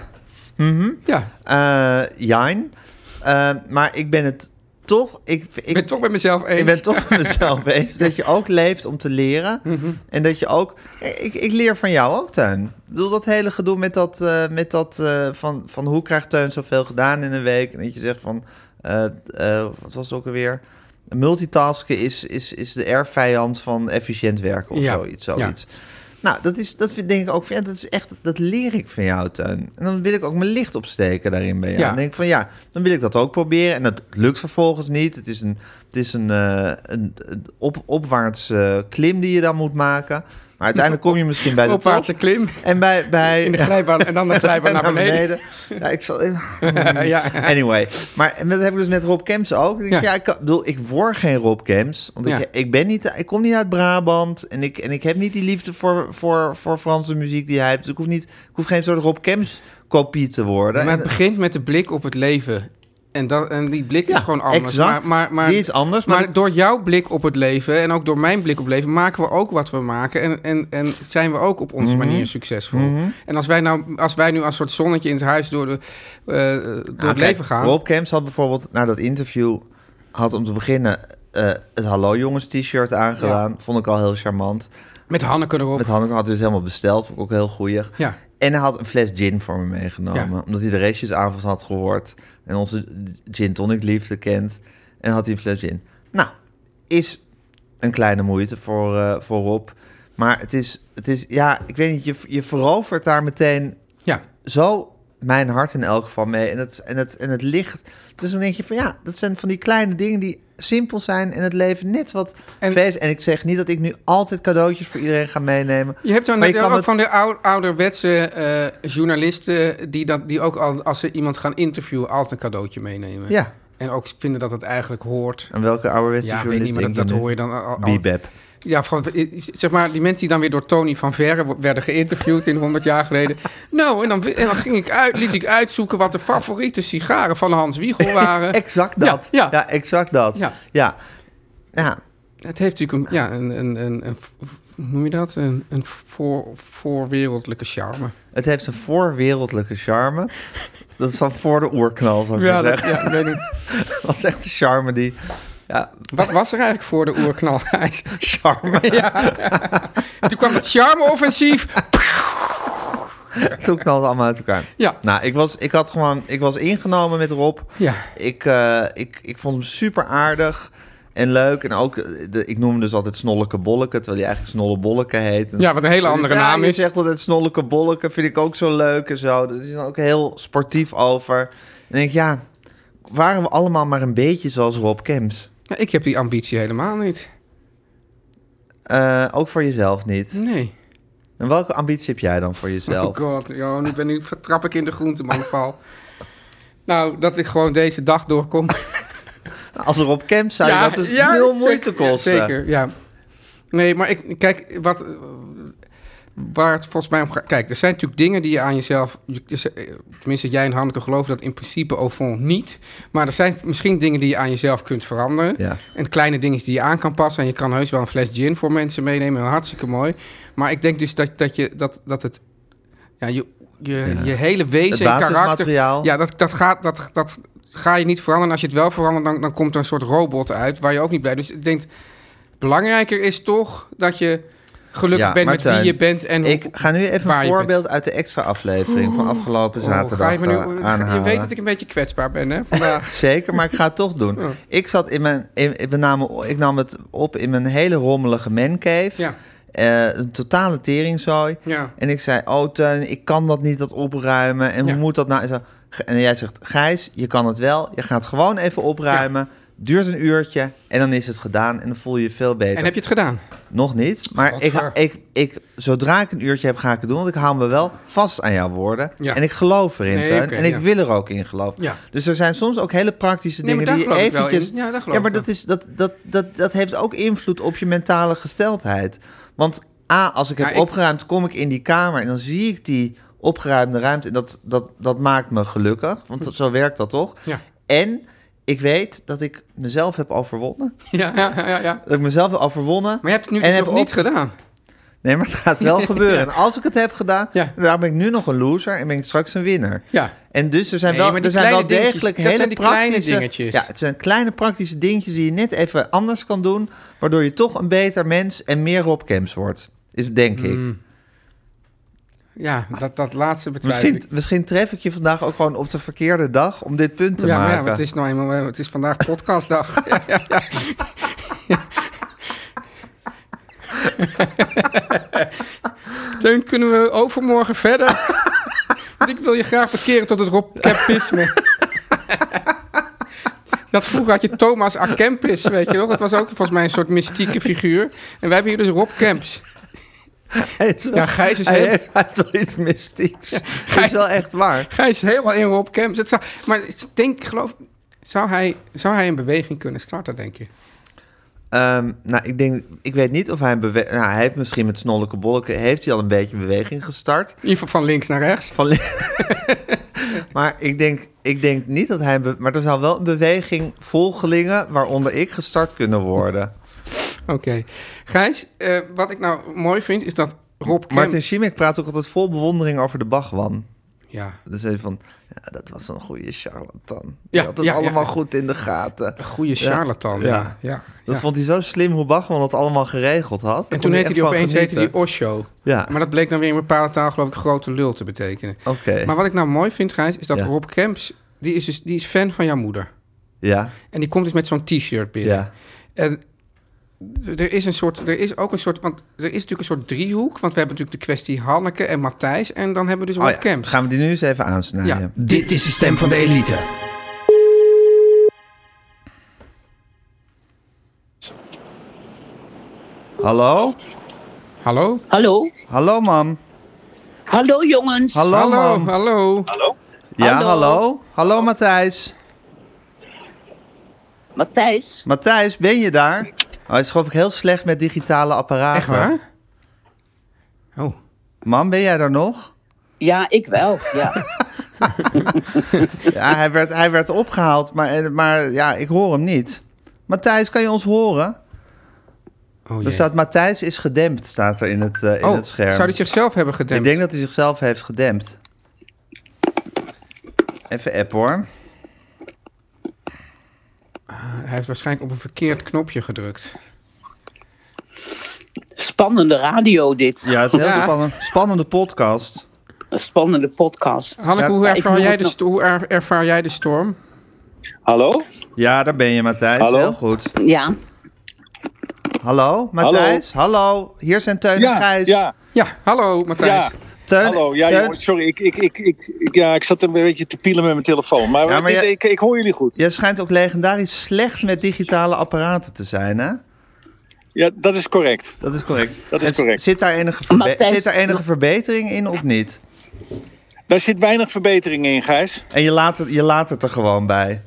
S6: Ja. Ja.
S3: eh Jijn. Eh, maar ik ben het toch... Ik, ik,
S6: Ik ben toch met mezelf eens.
S3: Ik ben toch met mezelf eens dat je ook leeft om te leren.
S6: Mhm.
S3: En dat je ook... Ik, ik leer van jou ook, Teun. Ik bedoel, dat hele gedoe met dat... eh, met dat eh, van, van hoe krijgt Teun zoveel gedaan in een week? En dat je zegt van... eh, eh, wat was het ook alweer? Multitasken is, is, is de erfvijand van efficiënt werken of
S6: Ja.
S3: zoiets. zoiets. Nou, dat, is, dat vind, denk ik ook van... Ja, dat is echt... Dat leer ik van jou, Teun. En dan wil ik ook mijn licht opsteken daarin bij jou.
S6: Ja.
S3: Dan denk ik van ja, dan wil ik dat ook proberen. En dat lukt vervolgens niet. Het is een, het is een, eh, een, een op, opwaarts eh, klim die je dan moet maken. Maar uiteindelijk kom je misschien bij de
S6: Opwaartse
S3: top.
S6: klim.
S3: En bij... bij
S6: In de glijbaan en dan de glijbaan naar beneden.
S3: Ja, ik zal...
S6: ja.
S3: Anyway, maar en dat heb ik dus met Rob Kemps ook. Ik, ja.
S6: Ja.
S3: ik, kan- bedoel, ik word geen Rob Kemps, want
S6: Ja.
S3: ik, ik, ben niet, ik kom niet uit Brabant en ik, en ik heb niet die liefde voor, voor, voor Franse muziek die hij heeft. Dus ik hoef, niet, ik hoef geen soort Rob Kemps kopie te worden.
S6: Maar het
S3: En-
S6: begint met de blik op het leven. En, dat, en die blik is
S3: Ja,
S6: gewoon anders.
S3: exact.
S6: Maar, maar, maar,
S3: Die is anders,
S6: Maar,
S3: maar-
S6: door jouw blik op het leven en ook door mijn blik op het leven maken we ook wat we maken. En, en, en zijn we ook op onze
S3: Mhm.
S6: manier succesvol. En als wij, nou, als wij nu als soort zonnetje in het huis door, de, eh, door het
S3: Nou, kijk,
S6: leven gaan.
S3: Rob Kemps had bijvoorbeeld naar dat interview... had om te beginnen eh, het Hallo Jongens t-shirt aangedaan. Vond ik al heel charmant.
S6: Met Hanneke erop.
S3: Met Hanneke had dus helemaal besteld. Vond ik ook heel goeie.
S6: Ja.
S3: En hij had een fles gin voor me meegenomen.
S6: Ja.
S3: Omdat hij de restjesavond had gehoord. En onze gin tonic liefde kent. En had hij een fles gin. Nou, is een kleine moeite voor, eh voor Rob. Maar het is, het is... Ja, ik weet niet. Je, je verovert daar meteen
S6: Ja.
S3: zo mijn hart in elk geval mee. En het, en, het, en het licht. Dus dan denk je van ja, dat zijn van die kleine dingen die simpel zijn en het leven net wat
S6: En-
S3: en, feest. En ik zeg niet dat ik nu altijd cadeautjes voor iedereen ga meenemen.
S6: Je hebt dan
S3: Maar
S6: net
S3: kan
S6: ook
S3: het-
S6: van de ou- ouderwetse eh, journalisten die, dat, die ook al, als ze iemand gaan interviewen altijd een cadeautje meenemen.
S3: Ja.
S6: En ook vinden dat het eigenlijk hoort.
S3: En welke ouderwetse
S6: Ja, ik weet
S3: journalist
S6: niet, maar
S3: denk
S6: dat, dat
S3: je nu?
S6: hoor je dan al. al-
S3: Bebep.
S6: Ja, van, zeg maar, die mensen die dan weer door Tony van Verre wo- werden geïnterviewd in 100 jaar geleden. Nou, en dan, en dan ging ik uit, liet ik uitzoeken wat de favoriete sigaren van Hans Wiegel waren.
S3: Exact
S6: Ja,
S3: dat.
S6: ja.
S3: Ja, exact dat.
S6: Ja.
S3: Ja. ja. ja.
S6: Het heeft natuurlijk een, ja, een, een, een, een- hoe noem je dat? Een, een voor, voorwereldelijke charme.
S3: Het heeft een voorwereldelijke charme. Dat is van voor de oerknal, zou ik maar
S6: dat,
S3: zeggen.
S6: ja, ik weet niet.
S3: Dat is echt een charme die... Ja,
S6: Wat was er eigenlijk voor de oerknal? Gijs?
S3: charme.
S6: ja. Toen kwam het charme-offensief.
S3: Toen knalde het allemaal uit elkaar.
S6: Ja.
S3: Nou, ik was, ik had gewoon, ik was ingenomen met Rob.
S6: Ja.
S3: Ik, eh, ik, ik vond hem super aardig en leuk. En ook, eh, de, ik noem hem dus altijd Snolleke Bolleke, terwijl hij eigenlijk Snolle Bolleke heet. En-
S6: Ja, wat een hele andere
S3: Ja,
S6: naam
S3: je
S6: is.
S3: zegt altijd Snolleke Bolleke, vind ik ook zo leuk en zo. Dat is dan ook heel sportief over. En ik denk, ja, waren we allemaal maar een beetje zoals Rob Kemps?
S6: Ja, ik heb die ambitie helemaal niet.
S3: Eh, ook voor jezelf niet.
S6: Nee.
S3: En welke ambitie heb jij dan voor
S6: Oh
S3: jezelf?
S6: god, joh, nu, ben, nu vertrap ik in de groentemanval. nou, dat ik gewoon deze dag doorkom.
S3: Als Rob Kemps zou je dat dus
S6: ja,
S3: heel
S6: zeker,
S3: moeite kosten.
S6: Zeker, ja. Nee, maar ik, kijk, wat, eh, waar het volgens mij om gaat... Kijk, er zijn natuurlijk dingen die je aan jezelf... je- eh, Tenminste, jij en Hanneke geloven dat in principe au fond niet. Maar er zijn misschien dingen die je aan jezelf kunt veranderen.
S3: Ja.
S6: En kleine dingetjes die je aan kan passen. En je kan heus wel een fles gin voor mensen meenemen. Hartstikke mooi. Maar ik denk dus dat, dat, je, dat, dat het... Ja, je, je, je hele wezen
S3: Het
S6: en karakter...
S3: basismateriaal.
S6: Ja, dat, dat, gaat, dat, dat ga je niet veranderen. Als je het wel verandert, dan, dan komt er een soort robot uit... waar je ook niet blij Dus ik denk, belangrijker is toch dat je gelukkig
S3: Ja,
S6: bent
S3: maar
S6: met
S3: Teun,
S6: wie je bent. En hoe-
S3: Ik ga nu even
S6: waar
S3: een
S6: je
S3: voorbeeld uit de extra aflevering van afgelopen
S6: bent. Oh,
S3: zaterdag
S6: ga je, me nu,
S3: eh, aanhalen.
S6: je weet dat ik een beetje kwetsbaar ben, hè? eh, Vandaag.
S3: Zeker, maar ik ga het toch doen. Ik zat in mijn, in, in- we namen, ik nam het op in mijn hele rommelige mancave.
S6: Ja.
S3: Eh, een totale teringzooi.
S6: Ja.
S3: En ik zei, oh Teun, ik kan dat niet, dat opruimen. En
S6: Ja.
S3: hoe moet dat nou? En, zo. G- en jij zegt, Gijs, je kan het wel. Je gaat gewoon even opruimen. Duurt een uurtje en dan is het gedaan en dan voel je je veel beter.
S6: En heb je het gedaan?
S3: Nog niet, maar ik,
S6: Godver.
S3: ik, ik, zodra ik een uurtje heb, ga ik het doen. Want ik hou me wel vast aan jouw woorden.
S6: Ja.
S3: En ik geloof erin,
S6: Nee,
S3: Teun.
S6: oké,
S3: en ik
S6: ja.
S3: wil er ook in geloven.
S6: Ja.
S3: Dus er zijn soms ook hele praktische
S6: Nee,
S3: dingen
S6: maar
S3: die
S6: daar
S3: je
S6: geloof ik wel
S3: eventjes...
S6: in. Ja, daar geloof
S3: ja, maar
S6: ik wel.
S3: dat, is, dat, dat, dat, dat heeft ook invloed op je mentale gesteldheid. Want A, als ik
S6: Ja,
S3: heb
S6: ik-
S3: opgeruimd, kom ik in die kamer... en dan zie ik die opgeruimde ruimte. En dat, dat, dat maakt me gelukkig, want dat- zo werkt dat toch?
S6: Hm. Ja.
S3: En ik weet dat ik mezelf heb overwonnen.
S6: Ja, ja, ja, ja.
S3: Dat ik mezelf heb overwonnen.
S6: Maar je hebt het nu
S3: En
S6: dus
S3: heb
S6: nog niet
S3: op-
S6: gedaan.
S3: Nee, maar het gaat wel gebeuren. En als ik het heb gedaan,
S6: Ja.
S3: dan ben ik nu nog een loser en ben ik straks een winnaar.
S6: Ja.
S3: En dus er zijn
S6: Nee,
S3: wel,
S6: maar
S3: er
S6: die
S3: zijn wel
S6: kleine dingetjes,
S3: degelijk
S6: dat
S3: hele
S6: zijn die kleine
S3: praktische
S6: dingetjes.
S3: Ja, het zijn kleine praktische dingetjes die je net even anders kan doen, waardoor je toch een beter mens en meer Rob Camps wordt. Is denk ik.
S6: Mm, Ja, dat, dat laatste betwijfel
S3: Misschien,
S6: ik.
S3: misschien tref ik je vandaag ook gewoon op de verkeerde dag om dit punt te
S6: Ja, maar
S3: maken.
S6: ja, want het is nou eenmaal, eh, het is vandaag podcastdag. Ja, ja, ja. Teun, kunnen we overmorgen verder? Want ik wil je graag bekeren tot het Rob Kempisme. Dat vroeger had je Thomas A. Kempis, weet je nog? Dat was ook volgens mij een soort mystieke figuur. En wij hebben hier dus Rob Kemps.
S3: Hij is wel-
S6: Ja, Gijs is
S3: hij
S6: heel-
S3: heeft- hij heeft wel iets mystieks. Dat is
S6: Gijs-
S3: wel echt waar.
S6: Gijs is helemaal in Rob Kemps. Het zou, maar ik denk, geloof... Zou hij, zou hij een beweging kunnen starten, denk je?
S3: Ehm, nou, ik denk, ik weet niet of hij een bewe- Nou, hij heeft misschien met snolleke bolken heeft hij al een beetje beweging gestart.
S6: In ieder geval van links naar rechts.
S3: Van maar ik denk, ik denk niet dat hij. een be- Maar er zou wel een beweging volgelingen waaronder ik gestart kunnen worden.
S6: Oké. Gijs, eh, wat ik nou mooi vind is dat Rob Kemp...
S3: Martin Schimek praat ook altijd vol bewondering over de Bachwan.
S6: Ja,
S3: Dus hij van, ja, dat was een goede charlatan. Die
S6: Ja,
S3: had het
S6: ja, ja.
S3: allemaal goed in de gaten.
S6: goede charlatan. Ja,
S3: ja.
S6: ja. ja,
S3: Dat vond hij zo slim hoe Bachman dat allemaal geregeld had. Daar
S6: En
S3: kon
S6: toen heette
S3: echt
S6: die
S3: van
S6: opeens heette die
S3: genieten.
S6: Osho.
S3: Ja.
S6: Maar dat bleek dan weer in bepaalde taal, geloof ik, grote lul te betekenen.
S3: Oké.
S6: Maar wat ik nou mooi vind, Gijs, is dat
S3: Ja.
S6: Rob Kemps... Die is, dus, die is fan van jouw moeder.
S3: Ja,
S6: En die komt dus met zo'n t-shirt binnen.
S3: ja.
S6: En er is, een soort, er is ook een soort... Want er is natuurlijk een soort driehoek. Want we hebben natuurlijk de kwestie Hanneke en Matthijs. En dan hebben we dus
S3: Oh
S6: Rob
S3: ja,
S6: Kemps.
S3: Gaan we die nu eens even aansnijden?
S6: Ja.
S5: Dit is de stem van de elite.
S3: Hallo?
S6: Hallo?
S8: Hallo?
S3: Hallo, mam.
S8: Hallo jongens.
S3: Hallo,
S6: Hallo,
S3: mam.
S6: hallo.
S3: Ja,
S8: Hallo.
S3: hallo. Hallo, Matthijs.
S8: Matthijs.
S3: Matthijs, ben je daar? Oh, hij is geloof ik heel slecht met digitale apparaten.
S6: Echt waar? Oh.
S3: Mam, ben jij daar nog?
S8: Ja, ik wel. Ja.
S3: Ja, hij werd, hij werd opgehaald, maar, eh, maar ja, ik hoor hem niet. Matthijs, kan je ons horen?
S6: Oh,
S3: Er
S6: jee.
S3: staat Matthijs is gedempt, staat er in het, eh, in
S6: Oh,
S3: het scherm.
S6: zou hij zichzelf hebben gedempt?
S3: Ik denk dat hij zichzelf heeft gedempt. Even app hoor.
S6: Hij heeft waarschijnlijk op een verkeerd knopje gedrukt.
S8: Spannende radio dit.
S3: Ja, het is heel
S6: Ja.
S3: spannend. Spannende podcast.
S8: Een spannende podcast.
S6: Hanneke, hoe,
S8: Ja, ik
S6: ervaar
S8: moet
S6: jij
S8: het
S6: de
S8: nog-
S6: sto- hoe er- ervaar jij de storm?
S9: Hallo?
S3: Ja, daar ben je, Matthijs.
S9: Hallo?
S3: Heel goed.
S8: Ja.
S3: Hallo, Matthijs. Hallo. Hier zijn Teun en Gijs.
S9: ja,
S6: Ja, hallo Matthijs.
S9: ja.
S3: Teun,
S9: Hallo, ja,
S3: Teun-
S9: jongens, sorry. Ik, ik, ik, ik, ik- ja, ik zat een beetje te pielen met mijn telefoon. Maar,
S3: Ja, maar
S9: dit-
S3: je-
S9: ik, ik hoor jullie goed.
S3: Jij schijnt ook legendarisch slecht met digitale apparaten te zijn, hè?
S9: Ja, dat is correct.
S3: Dat is correct.
S9: Dat is
S3: En z-
S9: correct.
S3: Zit daar enige, verbe-
S8: Matthijs-
S3: zit daar enige verbetering in of niet?
S9: Daar zit weinig verbetering in, Gijs.
S3: En je laat het, je laat het er gewoon bij.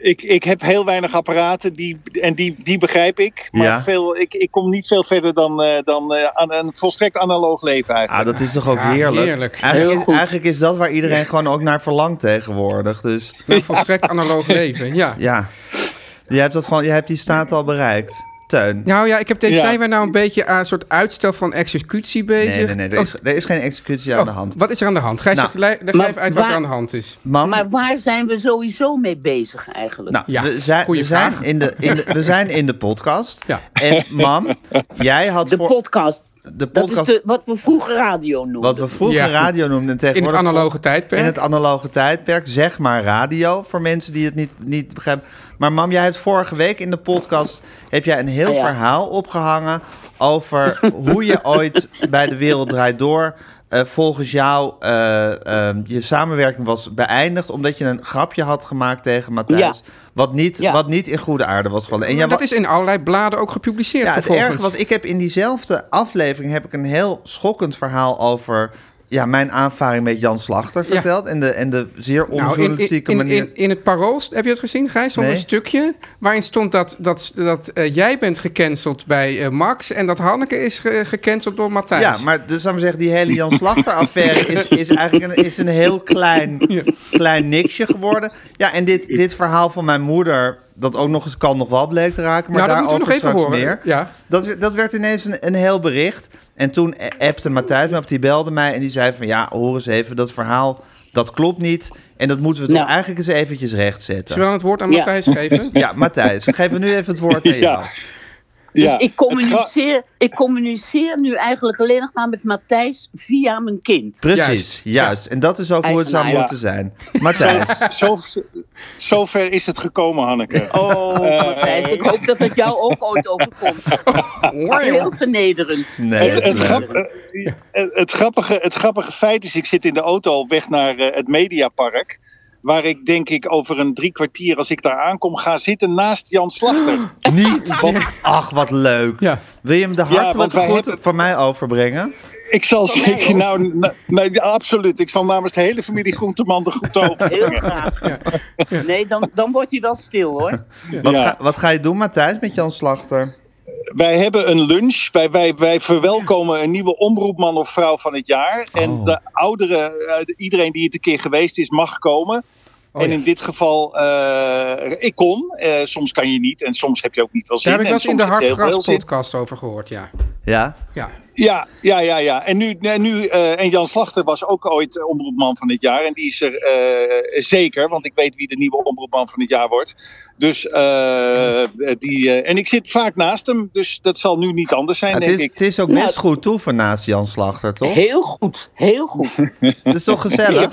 S9: Ik, ik heb heel weinig apparaten die, en die, die begrijp ik. Maar
S3: Ja.
S9: veel, ik, ik kom niet veel verder dan, eh, dan eh, aan een volstrekt analoog leven
S3: Ah,
S9: eigenlijk.
S3: dat is toch ook
S6: Ja,
S3: heerlijk?
S6: heerlijk.
S3: Eigenlijk,
S9: Heel
S3: is,
S9: goed.
S3: eigenlijk is dat waar iedereen gewoon ook naar verlangt tegenwoordig. Dus
S6: Een volstrekt analoog leven, ja.
S3: ja, je hebt, dat gewoon, je hebt die staat al bereikt. Teun.
S6: Nou ja, ik heb deze,
S9: Ja.
S6: zijn wij nou een beetje aan een soort uitstel van executie bezig?
S3: Nee, nee, nee. Er is,
S6: Oh,
S3: er is geen executie aan
S6: oh,
S3: de hand.
S6: Wat is er aan de hand? Gijs,
S3: Nou,
S6: zeg, lei- leg
S8: maar
S6: even uit wat er
S8: waar-
S6: aan de hand is.
S3: Man,
S8: Maar waar zijn we sowieso mee bezig eigenlijk?
S3: Nou,
S6: Ja,
S3: we, zijn,
S6: goeie
S3: we, zijn
S6: vraag.
S3: in de, in de, we zijn in de podcast.
S6: Ja.
S3: En mam, jij had
S8: de
S3: voor
S8: podcast.
S3: de
S8: Dat
S3: podcast...
S8: is de, wat we vroeger radio noemden.
S3: Wat we vroeger
S6: Ja.
S3: radio noemden en
S6: In het
S3: tegenwoordig...
S6: analoge tijdperk?
S3: in het analoge tijdperk, zeg maar radio, voor mensen die het niet, niet begrijpen. Maar mam, jij hebt vorige week in de podcast heb jij een heel
S8: Ah, ja.
S3: verhaal opgehangen over hoe je ooit bij de wereld draait door eh, volgens jou eh, ehm, je samenwerking was beëindigd omdat je een grapje had gemaakt tegen Matthijs.
S6: Ja.
S3: Wat, niet,
S6: Ja.
S3: wat niet in goede aarde was gevallen. En jij
S6: Maar
S3: wa-
S6: dat is in allerlei bladen ook gepubliceerd
S3: ja, het
S6: vervolgens.
S3: erge was, ik heb in diezelfde aflevering heb ik een heel schokkend verhaal over ja, mijn aanvaring met Jan Slachter
S6: Ja.
S3: verteld. En, de, en de zeer
S6: Nou, in, in,
S3: onjournalistieke
S6: in,
S3: manier.
S6: in, in het parool, st- heb je het gezien, Gijs? Stond
S3: Nee.
S6: een stukje waarin stond dat, dat, dat eh, jij bent gecanceld bij eh, Max... en dat Hanneke is ge- gecanceld door Matthijs.
S3: Ja, maar dus laten we zeggen, die hele Jan Slachter-affaire is, is eigenlijk een, is een heel klein, klein niksje geworden. Ja, en dit, dit verhaal van mijn moeder, dat ook nog eens kan nog wel bleek te raken, maar
S6: Nou, dat
S3: daarover
S6: moeten we nog even
S3: straks
S6: horen.
S3: meer. Dat, we- dat werd ineens een, een heel bericht. En toen a- appte Matthijs me op, die belde mij en die zei van... ja, hoor eens even, dat verhaal, dat klopt niet. En dat moeten we toch eigenlijk eens eventjes rechtzetten.
S6: Zullen we dan het woord aan Ja. Matthijs geven?
S3: Ja, Matthijs, we geven nu even het woord aan
S8: Ja.
S3: jou.
S8: Dus ik, communiceer, ik communiceer nu eigenlijk alleen nog maar met Matthijs via mijn kind.
S3: Precies, juist. En dat is ook hoe het zou
S8: Eigenaar.
S3: moeten zijn. Matthijs.
S9: Zo, zo, zover is het gekomen, Hanneke. Eh,
S8: Oh, Matthijs, ik hoop dat het jou ook ooit overkomt.
S9: Ah,
S8: Heel vernederend.
S3: Nee,
S9: het, het, grap- eh, het- het grappige, het grappige feit is, ik zit in de auto op weg naar eh, het Mediapark. Waar ik denk ik over een drie kwartier, als ik daar aankom, ga zitten naast Jan Slachter.
S3: Niet? Ach, wat leuk. Wil je hem de
S9: Ja, want
S3: hartelijke
S9: wij
S3: groeten van mij overbrengen?
S9: Ik zal zeker, nou, na- nee, ja, absoluut. Ik zal namens de hele familie Groenteman de groeten
S8: Heel
S9: overbrengen.
S8: graag. Nee, dan, dan wordt hij wel stil hoor.
S3: Wat, ga, wat ga je doen, Matthijs, met Jan Slachter?
S9: Wij hebben een lunch. Wij, wij, wij verwelkomen een nieuwe omroepman of vrouw van het jaar. En de oudere, eh, iedereen die het een keer geweest is, mag komen.
S6: Oh,
S9: en
S6: ja.
S9: in dit geval, eh, ik kon. Eh, soms kan je niet en soms heb je ook niet wel zin.
S6: Daar heb ik
S9: en
S6: wel eens in
S9: soms
S6: de
S9: heb je heel veel
S6: Hartgras
S9: zin.
S6: podcast over gehoord, ja.
S3: Ja?
S6: Ja.
S9: Ja, ja, ja, ja. En, nu, nee, nu, eh, en Jan Slachter was ook ooit omroepman van het jaar. En die is er eh, zeker, want ik weet wie de nieuwe omroepman van het jaar wordt. Dus, eh, die, eh, en ik zit vaak naast hem, dus dat zal nu niet anders zijn,
S3: Ja, het,
S9: denk
S3: is,
S9: ik.
S3: het is ook best goed toeven naast Jan Slachter, toch?
S8: Nou- Heel goed, heel goed.
S3: Het is toch gezellig?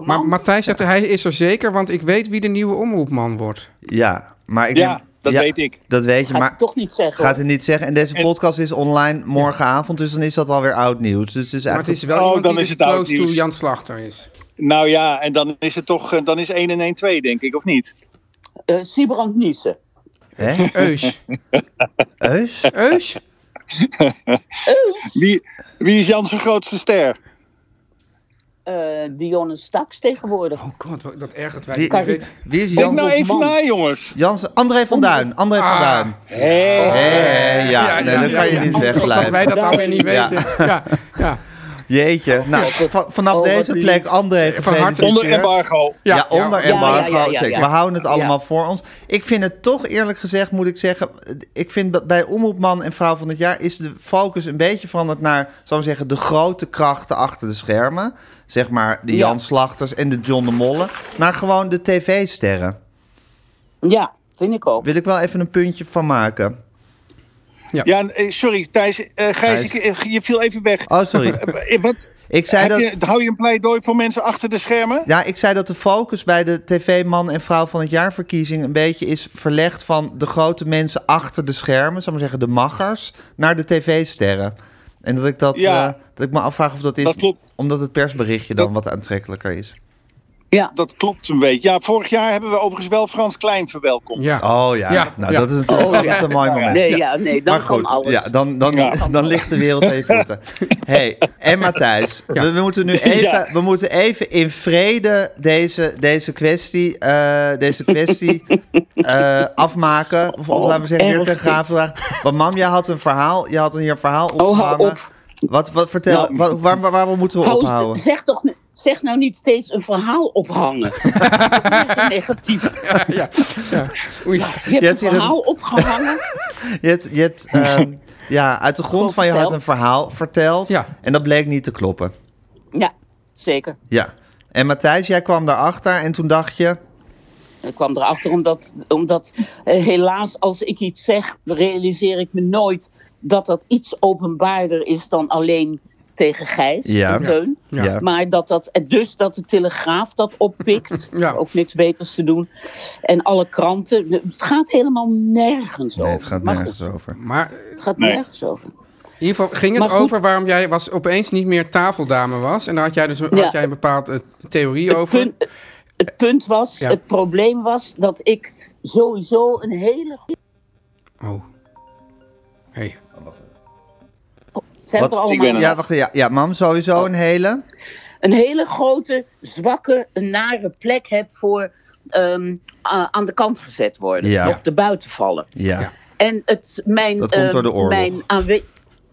S6: Maar Matthijs zegt, hij is er zeker, want ik weet wie de nieuwe omroepman wordt.
S3: Ja, maar ik
S6: Ja,
S3: neem-
S6: dat weet ik.
S3: Dat weet je,
S6: Gaat
S3: maar
S6: hij
S8: Toch niet zeggen.
S3: gaat het niet zeggen. En deze podcast is online morgenavond, dus dan is dat alweer oud nieuws. Dus het is
S6: Maar het is
S3: eigenlijk...
S6: wel
S9: Oh,
S6: iemand
S9: dan
S6: die
S9: is
S6: dus
S9: het oud
S6: close to
S9: nieuws.
S6: Jan Slachter is.
S9: Nou ja, en dan is het toch, eh, dan is 1 en 1 2, denk ik, of niet?
S8: Eh Sybrand Niesen.
S3: Hè?
S6: Eus.
S3: Eus?
S6: Eus?
S9: Wie, wie is Jan zijn grootste ster?
S8: Eh Dionne Staks tegenwoordig.
S6: Oh god, wat- dat ergert wij.
S3: Wie,
S6: Ik weet-
S3: wie is
S9: Denk
S3: Jan?
S9: nou even na, jongens.
S3: Jans, André van Duin. André van
S6: Ah.
S3: Duin.
S9: Hey.
S3: Hé, ja, nee, dan kan je niet wegblijven.
S6: Dat wij dat alweer niet
S3: Ja.
S6: weten. Ja, ja.
S3: Jeetje. Nou, va- vanaf
S6: Oh, wat
S3: deze
S6: lief.
S3: plek, André,
S6: Van harte.
S3: gefeliciteerd.
S9: Onder embargo.
S3: Ja,
S6: Ja,
S3: onder
S6: ja,
S3: embargo.
S6: ja, ja, ja,
S3: zeker.
S6: ja.
S3: We houden het allemaal voor ons. Ik vind het toch, eerlijk gezegd, moet ik zeggen... Ik vind dat bij Omroepman en Vrouw van het Jaar... is de focus een beetje veranderd naar, zou ik zeggen... de grote krachten achter de schermen. Zeg maar de Jan Slachters en de John de Molle. Naar gewoon de tv-sterren.
S8: Ja, vind ik ook.
S3: Wil ik wel even een puntje van maken.
S9: Ja, eh, sorry, Thijs. eh, Gijs, ik- eh, je viel even weg.
S3: Oh, sorry.
S9: Eh, Wat,
S3: Ik zei
S9: heb
S3: dat...
S9: je, hou je een pleidooi voor mensen achter de schermen?
S3: Ja, ik zei dat de focus bij de TV-man en vrouw van het jaarverkiezing een beetje is verlegd van de grote mensen achter de schermen, zou maar zeggen de maggers, naar de TV-sterren. En dat ik dat,
S9: Ja.
S3: eh, dat ik me afvraag of dat is,
S9: Dat klopt.
S3: omdat het persberichtje dan wat aantrekkelijker is.
S8: Ja.
S9: Dat klopt een beetje. Ja, vorig jaar hebben we overigens wel Frans Klein verwelkomd.
S3: Oh ja,
S6: Ja.
S3: nou
S6: Ja.
S3: dat is natuurlijk
S8: Oh,
S3: altijd
S8: ja.
S3: een mooi moment.
S8: Nee, ja, nee, dan
S3: maar goed,
S8: kan alles.
S3: Ja, dan, dan,
S9: Ja.
S3: dan ligt de wereld aan je voeten. hey, en Matthijs, we, we moeten nu even,
S9: Ja.
S3: we moeten even in vrede deze, deze kwestie, eh, deze kwestie eh, afmaken. Of, of laten we zeggen,
S8: Oh, erg
S3: weer ten graven. dragen. Want mam, jij had een verhaal, jij had een hier een verhaal
S8: Oh,
S3: opgehangen. Wat, wat, vertel,
S8: Nou,
S3: wa- waar, waar, waar moeten we
S8: Hou-
S3: ophouden?
S8: zeg, toch, ni- zeg nou niet steeds een verhaal ophangen. Dat is echt negatief.
S6: ja. ja. Oei.
S8: Je hebt
S3: Je
S8: een
S3: hebt hier een-
S8: verhaal opgehangen.
S3: Je hebt, je hebt ehm, ja, uit de grond
S8: Gewoon
S3: van je hart een
S8: verteld.
S3: verhaal verteld.
S6: Ja.
S3: En dat bleek niet te kloppen.
S8: Ja, zeker.
S3: Ja. En Matthijs, jij kwam daarachter en toen dacht je...
S8: Ik kwam erachter omdat, omdat eh, helaas als ik iets zeg, realiseer ik me nooit dat dat iets openbaarder is dan alleen tegen Gijs
S3: Ja.
S8: en Teun.
S3: Ja. Ja.
S8: Maar dat dat, en dus dat de Telegraaf dat oppikt, ook niks beters te doen. En alle kranten, het gaat helemaal nergens
S3: Nee,
S8: over.
S3: het gaat
S8: Maar
S3: nergens
S8: goed,
S3: over.
S6: Maar eh,
S8: Het gaat
S9: Nee.
S8: nergens over.
S6: In ieder geval ging het
S8: Maar goed.
S6: over waarom jij was, opeens niet meer tafeldame was. En daar had jij dus
S8: Ja.
S6: had jij een bepaalde theorie over.
S8: punt- het punt was,
S6: Ja.
S8: het probleem was dat ik sowieso een hele goede...
S6: Oh. Hey.
S8: Zijn we er allemaal?
S3: ja, wacht, ja, ja, mam, sowieso
S9: Oh.
S3: een hele.
S8: een hele grote, zwakke, nare plek heb voor ehm, a- aan de kant gezet worden.
S3: Ja.
S8: Of de buiten vallen.
S3: Ja.
S8: En het, mijn,
S3: Dat komt
S8: ehm,
S3: door de oorlog.
S8: Mijn aanwe-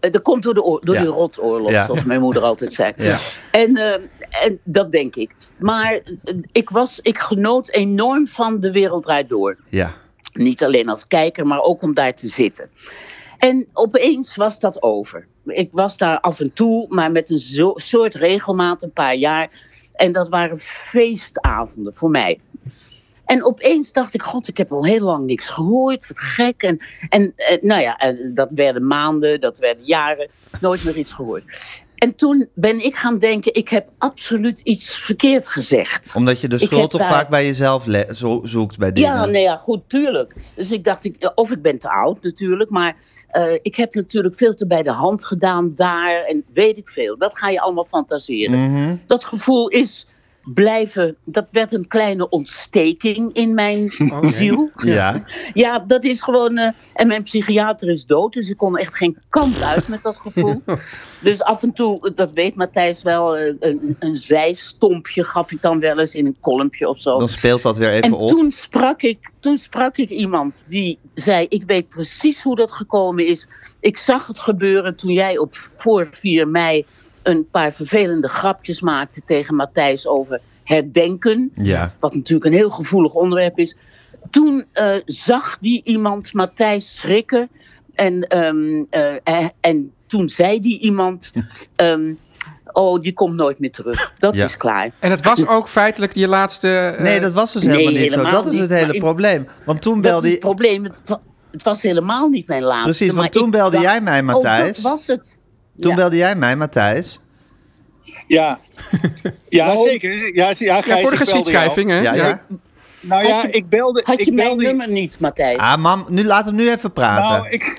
S8: eh, dat komt door, de oor- door
S3: Ja.
S8: die rotoorlog,
S3: Ja.
S8: zoals mijn moeder altijd zei.
S3: Ja.
S8: En, ehm, en dat denk ik. Maar eh, ik, was, ik genoot enorm van De Wereld Draait Door.
S3: Ja.
S8: Niet alleen als kijker, maar ook om daar te zitten. En opeens was dat over. Ik was daar af en toe, maar met een zo- soort regelmaat een paar jaar. En dat waren feestavonden voor mij. En opeens dacht ik, god, ik heb al heel lang niks gehoord, wat gek. En, en eh, nou ja, en dat werden maanden, dat werden jaren, nooit meer iets gehoord. En toen ben ik gaan denken, ik heb absoluut iets verkeerd gezegd.
S3: Omdat je de
S8: Ik heb
S3: schuld toch
S8: daar-
S3: vaak bij jezelf le- zo- zoekt bij dingen.
S8: Ja, nee, ja, goed, tuurlijk. Dus ik dacht, ik, of ik ben te oud natuurlijk, maar eh, ik heb natuurlijk veel te bij de hand gedaan daar en weet ik veel. Dat ga je allemaal fantaseren.
S3: Mhm.
S8: Dat gevoel is blijven, dat werd een kleine ontsteking in mijn
S6: Oké.
S8: ziel.
S3: Ja.
S8: Ja, dat is gewoon. eh, en mijn psychiater is dood, dus ik kon echt geen kant uit met dat gevoel. Dus af en toe, dat weet Matthijs wel, eh, een, een zijstompje gaf ik dan wel eens in een kolmpje of zo.
S3: Dan speelt dat weer even
S8: En
S3: op.
S8: toen sprak, ik, toen sprak ik iemand die zei: Ik weet precies hoe dat gekomen is. Ik zag het gebeuren toen jij op voor 4 mei een paar vervelende grapjes maakte tegen Matthijs over herdenken.
S3: Ja.
S8: Wat natuurlijk een heel gevoelig onderwerp is. Toen eh, zag die iemand Matthijs schrikken. En, ehm, eh, eh, en toen zei die iemand: ehm, Oh, die komt nooit meer terug. Dat
S3: Ja.
S8: is klaar.
S6: En het was ook feitelijk je laatste. eh,
S3: Nee, dat was dus
S8: Nee,
S3: helemaal niet
S8: helemaal
S3: zo. Dat is
S8: niet,
S3: het
S8: maar
S3: hele
S8: in-
S3: probleem. Want toen
S8: Dat
S3: belde
S8: is het probleem. Het wa- Het was helemaal niet mijn laatste.
S3: Precies, want
S8: maar
S3: toen
S8: ik
S3: belde
S8: dacht,
S3: jij mij,
S8: Oh,
S3: Matthijs.
S8: dat was het.
S3: Toen
S8: Ja.
S3: belde jij mij, Matthijs.
S9: Ja, ja zeker. Ja, ja,
S6: Ja,
S9: Gijs,
S6: voor de
S9: ik belde jou.
S6: geschiedschrijving, hè?
S3: Ja, ja.
S9: Nou ja, ik belde.
S8: Had je
S9: ik
S8: mijn
S9: belde
S8: nummer niet, Matthijs?
S3: Ah, mam, nu, laat hem nu even praten.
S9: Nou, ik,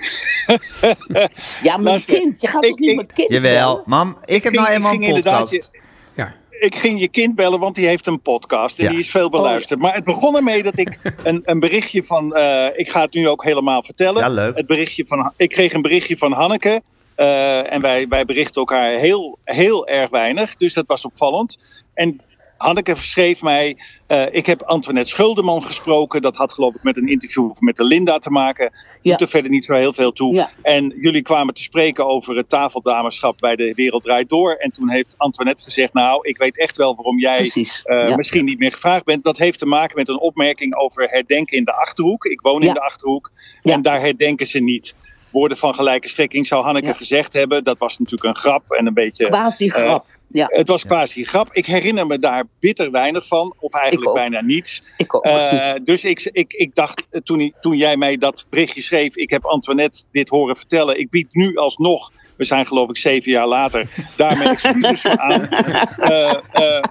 S8: ja, mijn
S9: luister,
S8: kind. Je gaat
S9: ik-
S8: toch niet
S9: ik-
S8: mijn kind
S3: Jawel,
S8: bellen?
S3: mam, ik heb
S9: ging-
S3: nou
S9: ik
S3: eenmaal
S9: ging
S3: een
S9: inderdaad
S3: podcast.
S6: Ja.
S9: ik ging je kind bellen, want die heeft een podcast en
S3: Ja.
S9: die is veel beluisterd. Maar het begon ermee dat ik een, een berichtje van, eh, ik ga het nu ook helemaal vertellen.
S3: Ja, leuk.
S9: Het berichtje van, ik kreeg een berichtje van Hanneke eh, en wij, wij berichten elkaar heel, heel erg weinig, dus dat was opvallend. En Hanneke schreef mij, eh, ik heb Antoinette Schuldeman gesproken. Dat had geloof ik met een interview met de Linda te maken. Doet
S8: Ja.
S9: er verder niet zo heel veel toe.
S8: Ja.
S9: En jullie kwamen te spreken over het tafeldameschap bij de Wereld Draait Door. En toen heeft Antoinette gezegd, nou, ik weet echt wel waarom jij
S8: Precies.
S9: eh,
S8: ja.
S9: misschien niet meer gevraagd bent. Dat heeft te maken met een opmerking over herdenken in de Achterhoek. Ik woon in
S8: Ja.
S9: de Achterhoek
S8: Ja.
S9: en daar herdenken ze niet. Woorden van gelijke strekking zou Hanneke
S8: Ja.
S9: gezegd hebben. Dat was natuurlijk een grap en een beetje...
S8: Quasi
S9: Eh,
S8: grap. Ja,
S9: Het was quasi een grap. Ik herinner me daar bitter weinig van, of
S8: Ik
S9: eigenlijk
S8: ook.
S9: bijna niets.
S8: ik ook.
S9: Eh, dus ik, ik, ik dacht eh, toen, toen jij mij dat berichtje schreef: ik heb Antoinette dit horen vertellen. Ik bied nu alsnog, we zijn geloof ik zeven jaar later, daar mijn excuses voor aan. Eh, eh,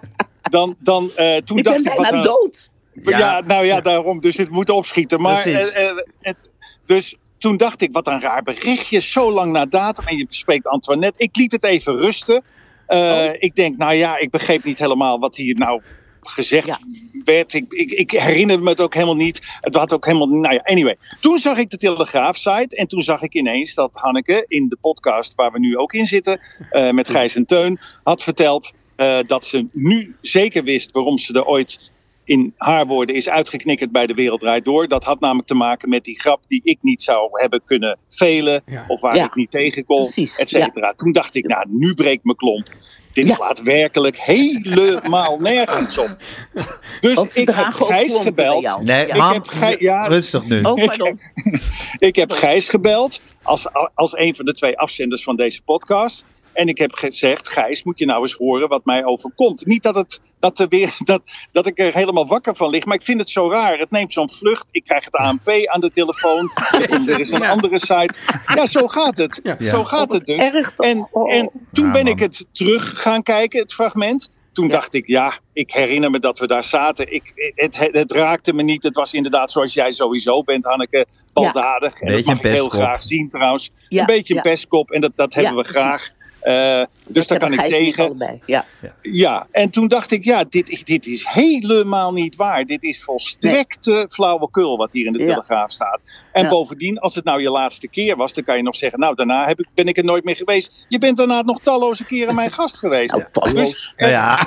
S9: dan, dan, eh, toen
S8: ik
S9: dacht
S8: ben
S9: ik. Wat
S8: bijna
S9: een-
S8: dood.
S9: ja. nou ja, daarom. Dus het moet opschieten. Maar,
S3: Precies.
S9: eh, eh, het- dus toen dacht ik, wat een raar berichtje. Zo lang na datum. En je bespreekt Antoinette. Ik liet het even rusten.
S8: Oh.
S9: Eh, Ik denk, nou ja, ik begreep niet helemaal wat hier nou gezegd
S8: Ja.
S9: werd. Ik, ik, ik herinner me het ook helemaal niet. Het had ook helemaal... Nou ja, anyway. Toen zag ik de Telegraaf-site. En toen zag ik ineens dat Hanneke in de podcast waar we nu ook in zitten... eh, met Gijs en Teun, had verteld... eh, dat ze nu zeker wist waarom ze er ooit in haar woorden is uitgeknikkerd bij de Wereld Draait Door. Dat had namelijk te maken met die grap die ik niet zou hebben kunnen velen.
S6: Ja.
S9: Of waar
S8: Ja.
S9: ik niet tegen kon,
S8: Precies,
S9: et cetera. Toen dacht ik, nou, nu breekt mijn klomp. Dit
S8: Ja.
S9: slaat werkelijk helemaal nergens op. Dus
S8: Want ze
S9: ik heb
S8: dragen ook
S9: Gijs
S8: klompen bij
S9: gebeld.
S8: jou.
S3: Nee,
S8: Ja.
S9: Ik
S3: mam,
S9: heb gij- ja.
S3: rustig nu.
S8: Oh, pardon.
S9: Ik heb Gijs gebeld als, als een van de twee afzenders van deze podcast. En ik heb gezegd, Gijs, moet je nou eens horen wat mij overkomt. Niet dat, het, dat, er weer, dat, dat ik er helemaal wakker van lig, maar ik vind het zo raar. Het neemt zo'n vlucht, ik krijg het ANP aan de telefoon. Er is een
S6: Ja.
S9: andere site. Ja, zo gaat het.
S6: Ja.
S9: Zo gaat het dus.
S8: Oh, Erg toch? Oh,
S9: En, en toen
S3: Ja,
S9: ben
S3: man.
S9: ik het terug gaan kijken, het fragment. Toen dacht ik, ja, ik herinner me dat we daar zaten. Ik, het, het, het raakte me niet. Het was inderdaad zoals jij sowieso bent, Hanneke, baldadig. En dat
S3: Beetje
S9: mag
S3: een
S9: ik heel
S3: pestkop.
S9: graag zien trouwens.
S8: Ja,
S9: een beetje
S8: ja.
S9: een pestkop en dat, dat hebben
S8: Ja,
S9: we graag. Eh, dus daar kan ik tegen.
S8: Ja.
S9: Ja, en toen dacht ik, ja, dit, dit is helemaal niet waar. Dit is volstrekte flauwekul wat hier in de
S8: Ja.
S9: Telegraaf staat. En
S8: Ja.
S9: bovendien, als het nou je laatste keer was, dan kan je nog zeggen, nou, daarna heb ik, ben ik er nooit meer geweest. Je bent daarna nog talloze keren mijn gast geweest. Dus,
S3: Nou ja,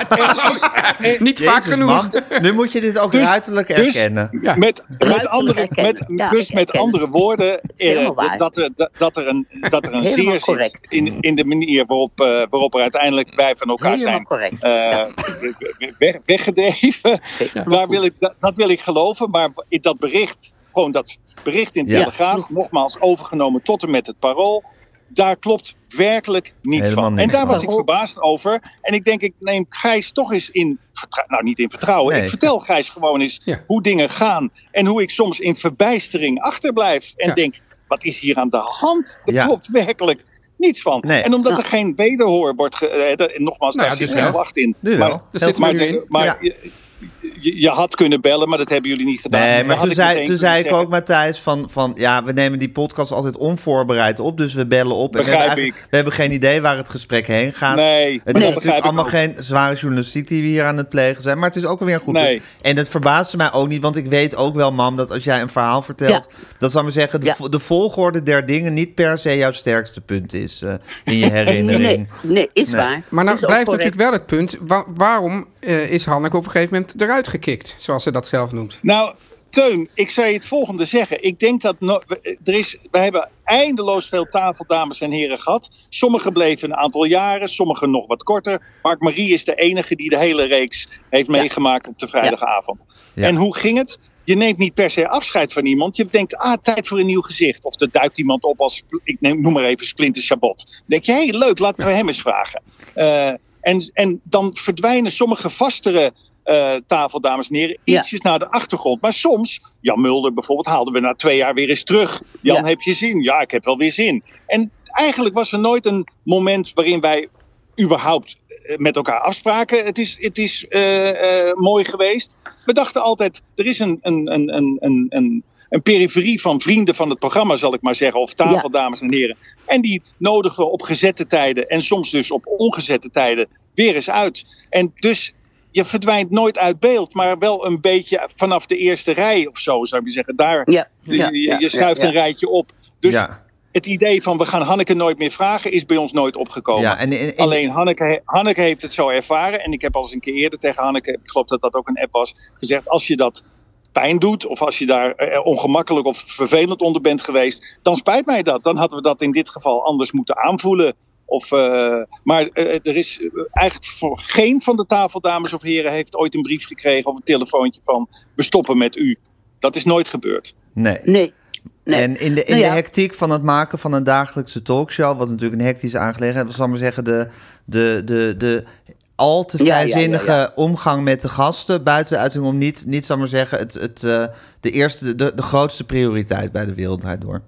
S6: Niet vaak
S3: Jezus,
S6: genoeg.
S3: man. Nu moet je dit ook
S9: Dus-
S3: ruiterlijk
S9: dus-
S3: erkennen.
S6: Ja.
S9: Met, met
S8: Ruiterlijk
S9: andere, met,
S8: herkennen. Ja,
S9: dus met
S8: herkennen.
S9: andere woorden, eh,
S8: Helemaal waar.
S9: dat, er, dat, dat er een, dat er een
S8: Helemaal
S9: zeer zit
S8: correct.
S9: in, in de manier waarop, eh, waarop er uiteindelijk wij van elkaar
S8: Helemaal
S9: zijn
S8: correct.
S9: eh,
S8: Ja.
S9: weg, weggedreven.
S8: Ja.
S9: Daar wil ik, dat, dat wil ik geloven, maar in dat bericht, gewoon dat bericht in de
S3: Ja.
S9: Telegraaf, nogmaals overgenomen tot en met het parool. Daar klopt werkelijk niets
S3: Helemaal
S9: van. En
S3: niks
S9: daar
S3: van.
S9: was ik verbaasd over. En ik denk, ik neem Gijs toch eens in vertrouwen. Nou, niet in vertrouwen.
S3: Nee.
S9: Ik vertel Gijs gewoon eens
S6: Ja.
S9: hoe dingen gaan. En hoe ik soms in verbijstering achterblijf. En
S6: Ja.
S9: denk, wat is hier aan de hand? Er
S3: Ja.
S9: klopt werkelijk niets van.
S3: Nee.
S9: En omdat er geen wederhoor wordt... Ge eh, dat- en nogmaals,
S6: Nou
S9: daar
S6: ja,
S9: zit
S6: dus
S9: geen
S6: wel.
S9: wacht in.
S3: Nu
S9: Maar-
S3: wel.
S6: Dus
S3: Heel
S6: dit
S9: maar
S6: Maar nu in.
S9: maar
S3: Ja.
S9: je, je- je had kunnen bellen, maar dat hebben jullie niet gedaan.
S3: Nee,
S9: Dan
S3: maar
S9: had
S3: toen
S9: ik
S3: zei,
S9: meteen
S3: toen
S9: kunnen
S3: zei ik
S9: zeggen,
S3: ook, Matthijs, van, van ja, we nemen die podcast altijd onvoorbereid op, dus we bellen op. en we
S9: Begrijp
S3: hebben, eigenlijk-
S9: ik.
S3: we hebben geen idee waar het gesprek heen gaat.
S9: Nee,
S3: Het
S9: maar
S3: is
S9: dat
S3: natuurlijk
S9: begrijp ik
S3: allemaal
S9: ook.
S3: geen zware journalistiek die we hier aan het plegen zijn, maar het is ook weer een goed
S9: Nee.
S3: punt. En dat verbaasde mij ook niet, want ik weet ook wel, mam, dat als jij een verhaal vertelt, dat zal maar zeggen, de,
S8: Ja.
S3: vo- de volgorde der dingen niet per se jouw sterkste punt is eh, in je herinnering.
S8: Nee, nee, is
S3: Nee.
S8: waar.
S6: Maar nou
S8: Is ook correct.
S6: blijft natuurlijk wel het punt, wa- waarom eh, is Hanneke op een gegeven moment eruit gekikt? Zoals ze dat zelf noemt.
S9: Nou, Teun, ik zou je het volgende zeggen. Ik denk dat no- we- er is, we hebben eindeloos veel tafeldames en heren gehad. Sommigen bleven een aantal jaren, sommigen nog wat korter. Mark Marie is de enige die de hele reeks heeft meegemaakt op de vrijdagavond.
S3: Ja.
S9: En hoe ging het? Je neemt niet per se afscheid van iemand. Je denkt, ah, tijd voor een nieuw gezicht. Of er duikt iemand op als, ik neem, noem maar even Splinter Chabot. Dan denk je, hé, hey, leuk, laten we hem eens vragen. Eh, en, en dan verdwijnen sommige vastere eh, tafel, dames en heren,
S8: Ja.
S9: ietsjes naar de achtergrond. Maar soms, Jan Mulder bijvoorbeeld, haalden we na twee jaar weer eens terug. Jan,
S8: Ja.
S9: heb je zin? Ja, ik heb wel weer zin. En eigenlijk was er nooit een moment waarin wij überhaupt eh, met elkaar afspraken. Het is, het is eh, eh, mooi geweest. We dachten altijd, er is een, een, een, een, een, een, een periferie van vrienden van het programma, zal ik maar zeggen. Of tafel, dames en heren. En die nodigen we op gezette tijden en soms dus op ongezette tijden weer eens uit. En dus je verdwijnt nooit uit beeld, maar wel een beetje vanaf de eerste rij of zo, zou ik zeggen. Daar,
S8: Ja, ja,
S9: je,
S8: ja,
S9: je schuift
S8: ja, ja.
S9: een rijtje op. Dus
S3: ja.
S9: het idee van we gaan Hanneke nooit meer vragen is bij ons nooit opgekomen.
S3: Ja, en, en- en-
S9: Alleen Hanneke, Hanneke heeft het zo ervaren. En ik heb al eens een keer eerder tegen Hanneke, ik geloof dat dat ook een app was, gezegd: als je dat pijn doet of als je daar eh, ongemakkelijk of vervelend onder bent geweest, dan spijt mij dat. Dan hadden we dat in dit geval anders moeten aanvoelen. Of, eh, maar eh, er is eh, eigenlijk voor geen van de tafel, dames of heren, heeft ooit een brief gekregen of een telefoontje van we stoppen met u. Dat is nooit gebeurd.
S3: nee.
S8: Nee. nee.
S3: En in de, in
S8: Nou ja.
S3: de hectiek van het maken van een dagelijkse talkshow, wat natuurlijk een hectische aangelegenheid was, zal ik maar zeggen, de, de, de, de al te
S8: Ja, ja, ja,
S3: vrijzinnige
S8: ja.
S3: omgang met de gasten buiten de uitzending om niet, niet zal ik maar zeggen, het, het, eh, de, eerste, de, de grootste prioriteit bij de wereldheid door.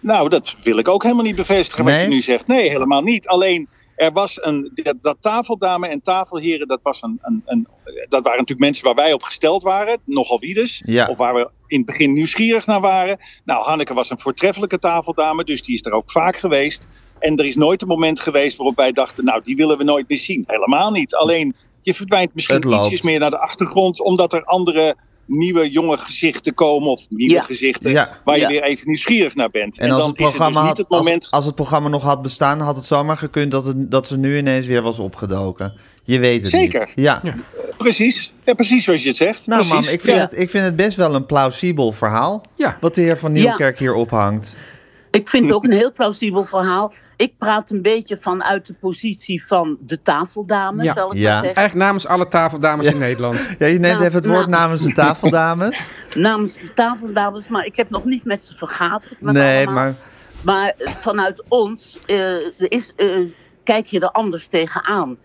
S9: Nou, dat wil ik ook helemaal niet bevestigen wat
S3: Nee?
S9: je nu zegt. Nee, helemaal niet. Alleen er was een. Dat, dat tafeldame en tafelheren, dat, was een, een, een, dat waren natuurlijk mensen waar wij op gesteld waren. Nogal wie dus.
S3: Ja.
S9: Of waar we in het begin nieuwsgierig naar waren. Nou, Hanneke was een voortreffelijke tafeldame, dus die is er ook vaak geweest. En er is nooit een moment geweest waarop wij dachten: nou, die willen we nooit meer zien. Helemaal niet. Alleen je verdwijnt
S3: Het
S9: misschien
S3: loopt.
S9: ietsjes meer naar de achtergrond, omdat er andere. Nieuwe jonge gezichten komen, of nieuwe
S8: Ja.
S9: gezichten,
S3: Ja.
S9: waar je
S8: Ja.
S9: weer even nieuwsgierig naar bent.
S3: En, als,
S9: dan
S3: het programma
S9: is het dus niet
S3: had,
S9: het moment.
S3: als, als het programma nog had bestaan, had het zomaar gekund dat, het, dat ze nu ineens weer was opgedoken. Je weet het
S9: Zeker.
S3: niet. Ja.
S9: Precies. Ja, precies zoals je het zegt.
S3: Nou,
S9: precies.
S3: mam, ik vind,
S9: Ja.
S3: het, ik vind het best wel een plausibel verhaal.
S6: Ja.
S3: Wat de heer van Nieuwkerk hier ophangt.
S8: Ik vind het ook een heel plausibel verhaal. Ik praat een beetje vanuit de positie van de tafeldame,
S6: Ja.
S8: zal ik
S3: Ja.
S8: maar zeggen.
S6: Eigenlijk namens alle tafeldames in Nederland.
S3: Ja, je neemt
S8: Nou,
S3: even het woord
S8: nou.
S3: namens de tafel, dames.
S8: Namens de tafeldames, maar ik heb nog niet met ze vergaderd. met
S3: Nee,
S8: allemaal.
S3: maar
S8: Maar eh, vanuit ons eh, is, eh, kijk je er anders tegenaan.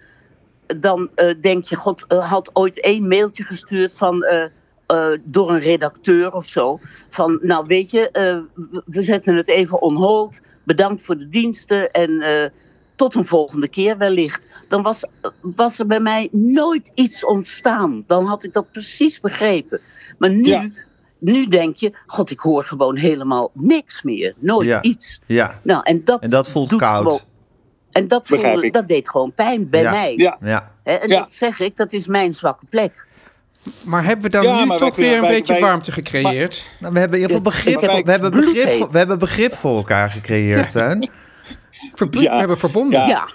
S8: Dan eh, denk je, God eh, had ooit één mailtje gestuurd van, eh, eh, door een redacteur of zo. Van, nou weet je, eh, we- we zetten het even on hold. Bedankt voor de diensten en eh, tot een volgende keer wellicht. Dan was, was er bij mij nooit iets ontstaan. Dan had ik dat precies begrepen. Maar nu, nu denk je, god, ik hoor gewoon helemaal niks meer. Nooit
S3: Ja.
S8: iets.
S3: Ja.
S8: Nou, en dat,
S3: En dat voelt
S8: doet
S3: koud.
S8: gewoon- en dat,
S3: Begrijp
S8: voelde,
S3: ik.
S8: dat deed gewoon pijn bij
S3: Ja.
S8: mij.
S3: Ja. Ja.
S8: Hè, en dat zeg ik, dat is mijn zwakke plek.
S6: Maar hebben we dan
S8: Ja,
S6: nu
S8: maar wij
S6: toch
S8: kunnen-
S6: weer een
S8: wij-
S6: beetje
S8: wij-
S6: warmte gecreëerd?
S3: Nou, we hebben in ieder geval begrip, voor- we hebben begrip, voor- we hebben begrip voor elkaar gecreëerd, Teun.
S6: Verbloed, we hebben verbonden.
S8: Ja. Ja.